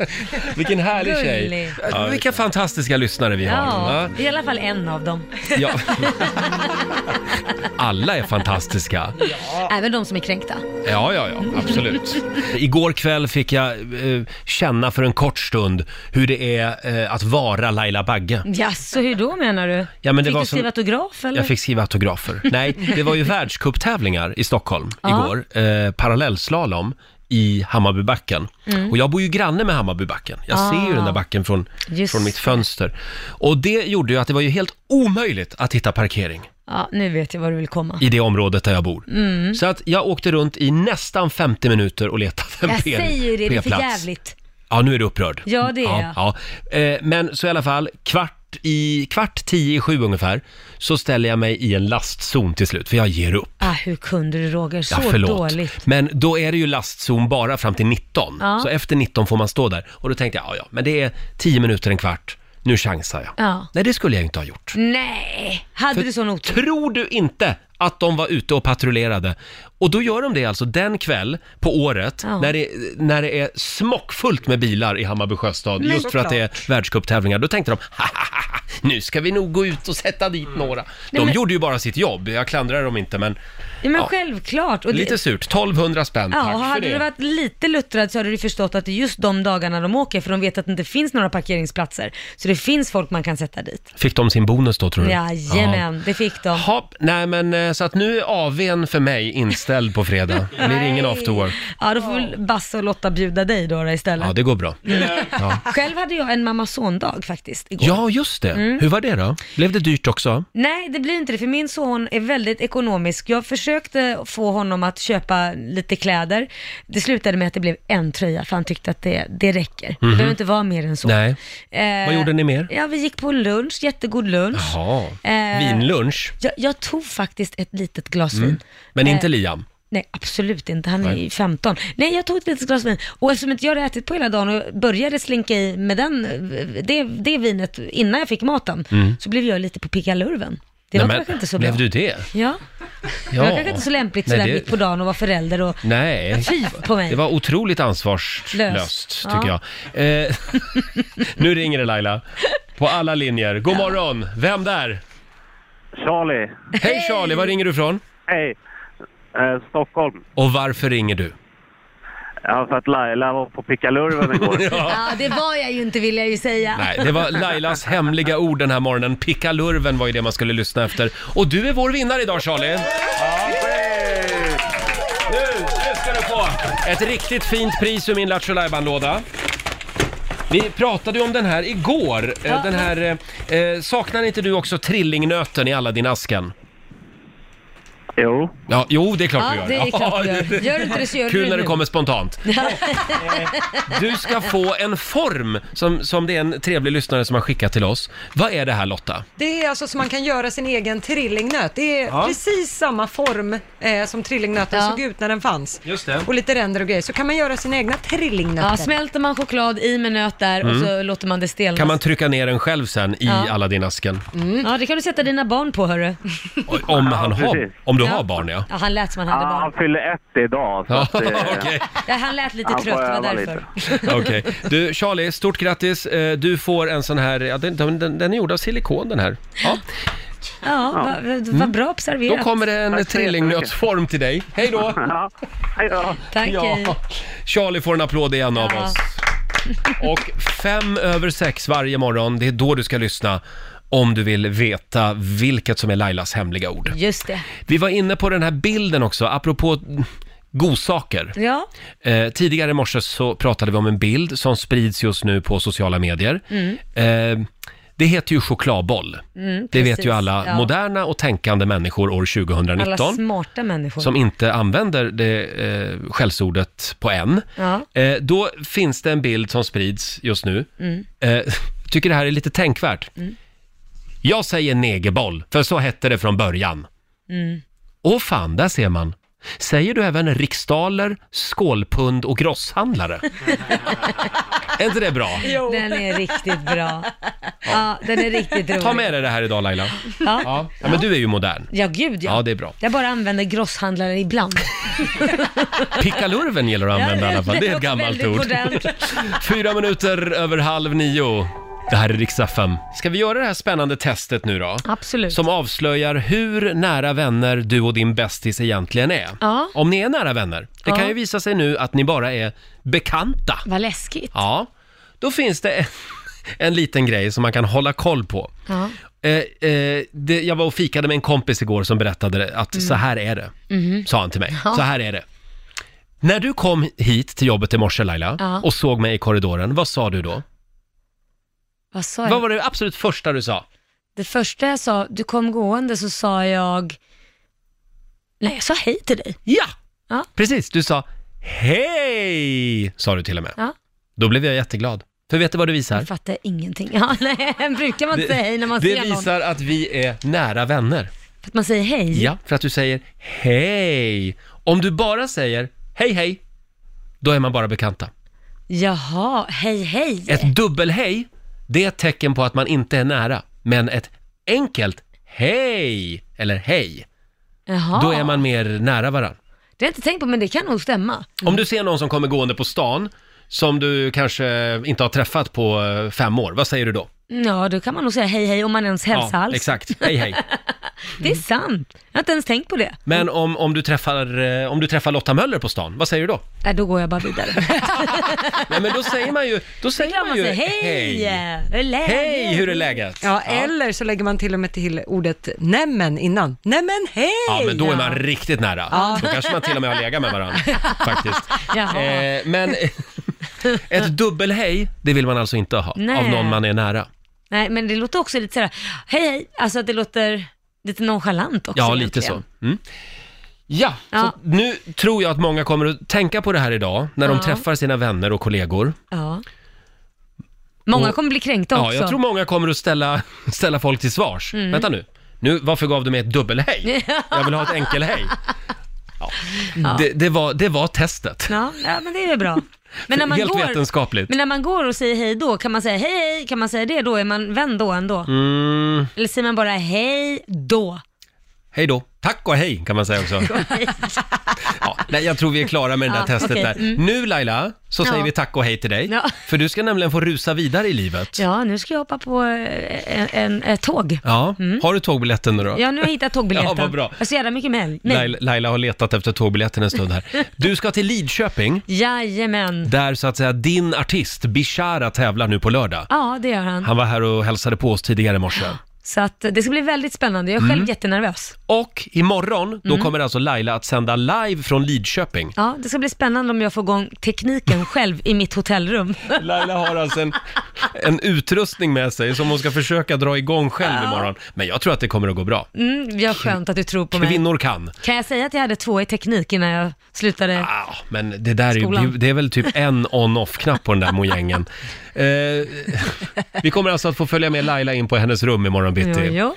Vilken härlig
Gullig.
tjej. Ja, Vilka fantastiska lyssnare vi har.
Ja,
va?
i alla fall en av dem.
Ja. Alla är fantastiska.
Även de som är kränkta.
Ja, ja, ja, absolut. Igår kväll fick jag eh, känna för en kort stund hur det är eh, att vara Laila Bagge.
Jaså, hur då menar du?
Ja, men det
Fick
var
du
som-
skriva autograf eller?
Jag fick skriva autografer. Nej, det var ju världscuptävlingar i Stockholm
Ja.
igår. Eh, parallellslalom i Hammarbybacken.
Mm.
Och jag bor ju granne med Hammarbybacken. Jag
Ah.
ser ju den där backen från,
Just
från mitt fönster. Och det gjorde ju att det var ju helt omöjligt att hitta parkering.
Ja, nu vet jag var du vill komma.
i det området där jag bor.
Mm.
Så att jag åkte runt i nästan 50 minuter och letade en
Jag
P-
säger ju det, det är för
P-plats.
jävligt.
Ja, nu är du upprörd.
Ja, det är
ja, ja. Eh, Men så i alla fall, kvart i, kvart tio i sju ungefär, så ställer jag mig i en lastzon till slut, för jag ger upp.
Ah, hur kunde du Roger? Så
Ja, förlåt.
dåligt.
Men då är det ju lastzon bara fram till 19.
Ja.
Så efter 19 får man stå där. Och då tänkte jag, ja, ja, men det är 10 minuter, en kvart. Nu chansar jag.
Ja.
Nej, det skulle jag inte ha gjort.
Nej, hade
För
du sån otur?
Tror du inte att de var ute och patrullerade? Och då gör de det alltså den kväll på året
Ja.
när, det, när det är smockfullt med bilar i Hammarby sjöstad
Men
just för att det är världscuptävlingar. Då tänkte de, "Hahaha, nu ska vi nog gå ut och sätta dit några. De
Mm. men-
gjorde ju bara sitt jobb, jag klandrar dem inte men...
Ja, men
ja,
självklart. Och det-
Lite surt, 1200 spänn,
Ja,
tack
och
för
hade
det.
du varit lite luttrad så hade du förstått att det är just de dagarna de åker, för de vet att det inte finns några parkeringsplatser. Så det finns folk man kan sätta dit.
Fick de sin bonus då tror du?
Jajamän, det fick de.
Hopp, nej men eh, så att nu är AWn för mig inställd på fredag. Det blir ingen after work.
Ja, då får väl Basse och Lotta bjuda dig då, då istället. Mm.
Ja, det går bra. Ja.
Själv hade jag en mamma-son-dag faktiskt igår.
Ja, just det.
Mm.
Hur var det då? Blev det dyrt också?
Nej, det blir inte det, för min son är väldigt ekonomisk. Jag försökte få honom att köpa lite kläder. Det slutade med att det blev en tröja, för han tyckte att det, det räcker. Det
Mhm.
behöver inte vara mer än så.
Nej.
Eh,
Vad gjorde ni mer?
Ja, vi gick på lunch, jättegod lunch.
Jaha.
Eh,
Vinlunch?
Jag, jag tog faktiskt ett litet glas
Mm.
vin.
Men inte
Eh,
Liam?
Nej, absolut inte. Han är
Nej.
ju 15. Nej, jag tog ett litet glas vin. Och eftersom inte jag hade ätit på hela dagen och började slinka i med den, det, det vinet innan jag fick maten,
Mm.
så blev jag lite på pickalurven. Det var
Nej, men,
kanske inte så bra.
blev du det?
Ja. Det var kanske inte så lämpligt
Nej,
sådär
det-
mitt på dagen och vara förälder och
Nej,
Fy på mig.
det var otroligt ansvarslöst
Löst.
tycker
Ja.
jag. Eh, nu ringer det Laila, på alla linjer. God morgon, vem där?
Charlie.
Hej Charlie, var ringer du ifrån?
Hej. Eh, Stockholm.
Och varför ringer du?
Ja, för att Laila var på pickalurven igår.
Ja, det var jag ju inte vill jag ju säga.
Nej, det var Lailas hemliga ord den här morgonen. Pickalurven var ju det man skulle lyssna efter. Och du är vår vinnare idag Charlie! Nu, nu ska du få! Ett riktigt fint pris ur min Lattjo låda Vi pratade ju om den här igår. Eh,
Ja.
Den här, eh, eh, saknar inte du också trillingnöten i alla din asken?
Jo.
Ja, jo, det är klart
Ja,
du gör.
det är klart du gör. Gör du inte det så gör du
Kul
det
när det
nu.
kommer spontant. Du ska få en form som, som det är en trevlig lyssnare som har skickat till oss. Vad är det här Lotta?
Det är alltså så man kan göra sin egen trillingnöt. Det är
Ja.
precis samma form eh, som trillingnöten såg ut när den fanns.
Just det.
Och lite ränder och grejer. Så kan man göra sina egna trillingnötter.
Ja, smälter man choklad i med nöt där och
Mm.
så låter man det stelna.
Kan man trycka ner den själv sen i
Ja.
alla din asken?
Mm. Ja, det kan du sätta dina barn på hörru.
Oj, Om, han har,
precis.
om du
Ja.
har barn ja.
Ja, han lät som han hade
Ah,
barn.
han fyller ett idag. Så
Ja,
att, eh,
okej.
Ja, han lät lite
han får
trött, det var
öva
därför.
Okej. Du Charlie, stort grattis. Eh, Du får en sån här, ja, den, den, den är gjord av silikon den här. Ja.
Ja, vad vad bra
Mm. Då
observerat.
kommer det en trillingnötsform till dig. Hej då!
Hej då.
Tack, eh, hej.
Ja. Charlie får en applåd igen av
Ja.
oss. Och fem över sex varje morgon, det är då du ska lyssna om du vill veta vilket som är Lailas hemliga ord.
Just det.
Vi var inne på den här bilden också, apropå godsaker.
Ja.
Eh, tidigare i morse så pratade vi om en bild som sprids just nu på sociala medier.
Mm.
Eh, det heter ju chokladboll.
Mm,
det
precis.
vet ju alla
Ja.
moderna och tänkande människor år 2019
Alla smarta människor.
som inte använder det eh, skällsordet på än.
Ja.
Eh, då finns det en bild som sprids just nu.
Mm.
Eh, tycker det här är lite tänkvärt.
Mm.
Jag säger negerboll, för så hette det från början.
Mm.
Åh fan, där ser man. Säger du även riksdaler, skålpund och grosshandlare? är inte det bra?
Den är riktigt bra. Ja, den är riktigt rolig.
Ta med dig det här idag Laila.
Ja.
Ja, ja men du är ju modern.
Ja, gud ja.
Ja, det är bra.
Jag bara använder grosshandlare ibland.
Pickalurven gillar du att använda i alla fall. Det är ett gammalt ord. Fyra minuter över halv nio. Det här är riksdag 5. Ska vi göra det här spännande testet nu då?
Absolut.
Som avslöjar hur nära vänner du och din bästis egentligen är.
Ja.
Om ni är nära vänner. Det
Ja.
kan ju visa sig nu att ni bara är bekanta.
Vad läskigt.
Ja. Då finns det en, en liten grej som man kan hålla koll på.
Ja.
Eh, eh, det, jag var och fikade med en kompis igår som berättade det, att
Mm.
så här är det,
Mhm.
sa han till mig.
Ja.
Så här är det. När du kom hit till jobbet i morse Laila
Ja.
och såg mig i korridoren, vad sa du då?
Vad sa jag?
Vad var det absolut första du sa?
Det första jag sa, du kom gående så sa jag, nej jag sa hej till dig.
Ja!
Ja.
Precis, du sa hej, sa du till och med.
Ja.
Då blev jag jätteglad. För vet du vad det visar?
Jag fattar ingenting. Ja, nej, brukar man inte säga hej när man
det
ser någon?
visar att vi är nära vänner.
För att man säger hej.
Ja, för att du säger hej. Om du bara säger hej hej, då är man bara bekanta.
Jaha, hej hej.
Ett dubbelhej, det är ett tecken på att man inte är nära. Men ett enkelt hej eller hej,
Jaha.
då är man mer nära varandra.
Det har jag inte tänkt på, men det kan nog stämma.
Om du ser någon som kommer gående på stan, som du kanske inte har träffat på eh, fem år, vad säger du då?
Ja, då kan man nog säga hej hej om man ens hälsar alls.
exakt. Hej, hej.
Det är sant. Jag har inte ens tänkt på det.
Men om, om, du träffar, eh, om du träffar Lotta Möller på stan, vad säger du då?
Nej, då går jag bara vidare.
Nej, men då säger man ju, då säger man
Man
ju
säger hej, hur är läget?
Hej, hur är läget?
Ja, eller så lägger man till och med till ordet nämen innan. Nämen hej!
Ja, men då är man riktigt nära.
Ja.
Då kanske man till och med har legat med varandra, faktiskt. Eh, men ett dubbelhej, det vill man alltså inte ha
Nej.
av någon man är nära.
Nej, men det låter också lite sådär, hej hej, alltså att det låter lite nonchalant också.
Ja, lite så.
egentligen.
Mm. Ja,
Ja.
Så nu tror jag att många kommer att tänka på det här idag när de
Ja.
träffar sina vänner och kollegor.
Ja. Många
Och-
kommer bli kränkta
Ja,
också.
jag tror många kommer att ställa, ställa folk till svars.
Mm.
Vänta nu. nu, varför gav du mig ett dubbelhej? Jag vill ha ett enkelhej.
Ja.
Det, det, var, det var testet.
Ja, ja, men det är väl bra. Men när man
Helt
går,
vetenskapligt.
Men när man går och säger hej då, kan man säga hej hej, kan man säga det då? Är man vän då ändå?
Mm.
Eller säger man bara hej då?
Hej då. Tack och hej kan man säga också. ja, nej, jag tror vi är klara med det där
Ja,
testet
okej.
där.
Mm.
Nu Laila, så
Ja.
säger vi tack och hej till dig.
Ja.
För du ska nämligen få rusa vidare i livet.
Ja, nu ska jag hoppa på eh, en, en, ett tåg.
Ja, har du tågbiljetten nu då?
Mm. Ja, nu har jag hittat tågbiljetten.
Ja, vad bra.
Jag har så jävla mycket mejl. Nej.
Laila, Laila har letat efter tågbiljetten en stund här. Du ska till Lidköping,
Jajamän.
där så att säga din artist Bishara tävlar nu på lördag.
Ja, det gör han.
Han var här och hälsade på oss tidigare i morse.
Så att eh, det ska bli väldigt spännande. Jag är själv
Mm.
jättenervös.
Och imorgon, då
Mm.
kommer alltså Laila att sända live från Lidköping.
Ja, det ska bli spännande om jag får igång tekniken själv i mitt hotellrum.
Laila har alltså en, en utrustning med sig som hon ska försöka dra igång själv imorgon. Men jag tror att det kommer att gå bra.
Mm, jag skönt att du tror på mig.
Kvinnor kan.
Kan jag säga att jag hade två i teknik innan jag slutade?
Men det där är ju,
Skolan.
det är väl typ en on-off-knapp på den där mojängen. Eh, vi kommer alltså att få följa med Laila in på hennes rum imorgon bitti.
Jo, jo.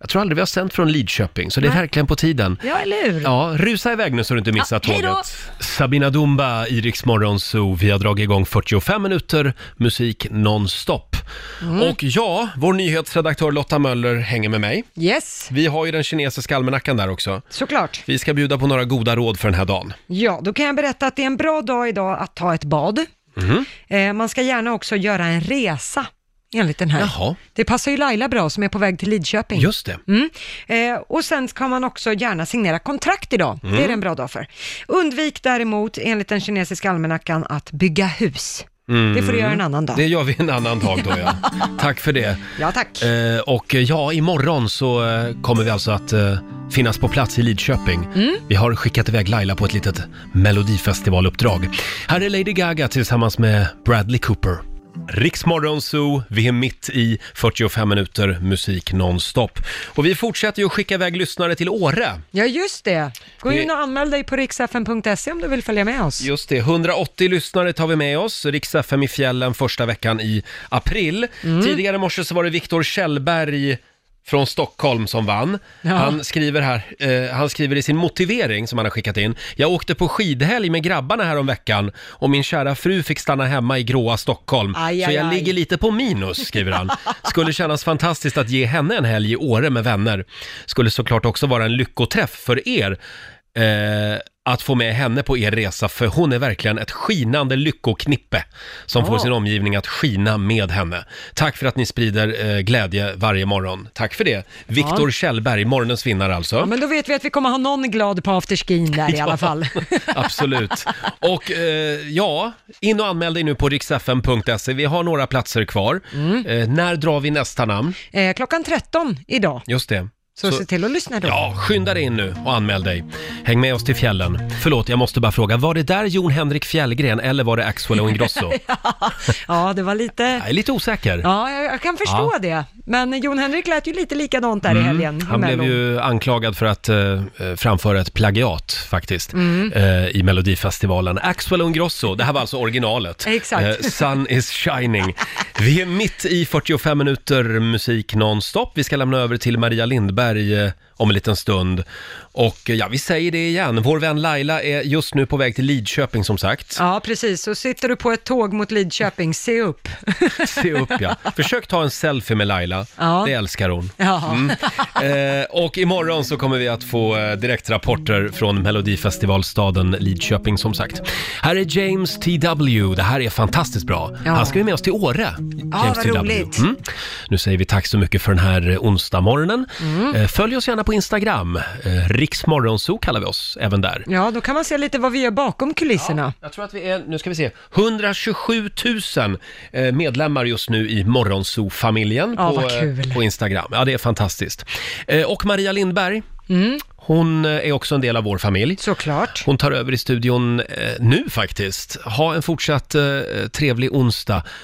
Jag tror aldrig vi har sänt från Lidköping, så det är
Nej.
verkligen på tiden.
Ja, eller hur?
Ja, rusa iväg nu så du inte missar
Ja, hej då!
tåget. Sabina Dumba, i Rix Morgon Zoo. Vi har dragit igång 45 minuter musik nonstop.
Mm.
Och ja, vår nyhetsredaktör Lotta Möller hänger med mig.
Yes,
Vi har ju den kinesiska almanackan där också.
såklart.
Vi ska bjuda på några goda råd för den här dagen.
Ja, då kan jag berätta att det är en bra dag idag att ta ett bad.
Mhm.
Eh, man ska gärna också göra en resa, enligt den här.
Jaha.
Det passar ju Laila bra som är på väg till Lidköping.
Just det.
Mm. Eh, och sen kan man också gärna signera kontrakt idag.
Mm.
Det är en bra dag för. Undvik däremot, enligt den kinesiska almanackan, att bygga hus.
Mm.
Det får du göra en annan dag.
Det gör vi en annan dag då, ja. Tack för det.
Ja, tack.
Eh, och eh, ja, imorgon så eh, kommer vi alltså att eh, finnas på plats i Lidköping. Vi har skickat iväg Laila på ett litet melodifestivaluppdrag. Här är Lady Gaga tillsammans med Bradley Cooper. Riksmorgon Zoo, vi är mitt i 45 minuter musik nonstop. Och vi fortsätter ju att skicka iväg lyssnare till Åre.
Ja, just det. Gå
Det-
in och anmäl dig på riksfn.se om du vill följa med oss.
Just det, 180 lyssnare tar vi med oss. Rix FM i fjällen första veckan i april.
Mm.
Tidigare i morse så var det Viktor Kjellberg från Stockholm som vann.
Ja.
Han, skriver här, eh, han skriver i sin motivering som han har skickat in. Jag åkte på skidhelg med grabbarna här om veckan och min kära fru fick stanna hemma i gråa Stockholm.
Aj,
så
aj,
jag
aj.
ligger lite på minus, skriver han. Skulle kännas fantastiskt att ge henne en helg i Åre med vänner. Skulle såklart också vara en lyckoträff för er eh, att få med henne på er resa, för hon är verkligen ett skinande lyckoknippe som får
Ja.
sin omgivning att skina med henne. Tack för att ni sprider eh, glädje varje morgon. Tack för det. Viktor
Ja.
Kjellberg, morgonens vinnare alltså.
Ja, men då vet vi att vi kommer ha någon glad på afterskin där i
Ja.
alla fall.
Absolut. Och eh, ja, in och anmäl dig nu på riksfn.se. Vi har
Mm.
några platser kvar. Eh, när drar vi nästa namn?
Eh, klockan 13 idag.
Just det.
Så, se till att lyssna då.
Ja, skynda dig in nu och anmäl dig. Häng med oss till fjällen. Förlåt, jag måste bara fråga, var det där Jon Henrik Fjällgren eller var det Axel och Ingrosso?
ja, det var lite...
Jag är lite osäker.
Ja, jag, jag kan förstå
Ja. Mm.
det. Men Jon Henrik lät ju lite likadant där i helgen.
Han blev
emellan.
ju anklagad för att eh, framföra ett plagiat faktiskt
Mm.
eh, i Melodifestivalen. Axel och Ingrosso, det här var alltså originalet.
Exakt.
Eh, Sun is shining. Vi är mitt i 45 minuter musik nonstop. Vi ska lämna över till Maria Lindberg eh, om en liten stund. Och eh, ja, vi säger det igen. Vår vän Laila är just nu på väg till Lidköping som sagt.
Ja, precis. Så sitter du på ett tåg mot Lidköping, se upp.
Se upp ja. Försök ta en selfie med Laila.
Ja.
Det älskar hon.
Ja.
Mm. Eh, och imorgon så kommer vi att få eh, direktrapporter från Melodifestivalstaden Lidköping som sagt. Här är James T.W. Det här är fantastiskt bra.
Ja.
Han ska ju med oss till Åre.
Ja,
James
vad
T.W..
roligt.
Mm. Nu säger vi tack så mycket för den här eh, onsdagmorgonen.
Mm.
Eh, följ oss gärna på Instagram. Eh, Riksmorgonzoo kallar vi oss även där.
Ja, då kan man se lite vad vi gör bakom kulisserna.
Jag tror att vi är, nu ska vi se, 127 000 eh, medlemmar just nu i Morgonzoo-familjen
Ja,
på,
vad
eh,
kul.
på Instagram. Ja, det är fantastiskt. Eh, Och Maria Lindberg, hon eh, är också en del av vår familj.
Mm. Såklart.
Hon tar över i studion eh, nu faktiskt. Ha en fortsatt eh, trevlig onsdag.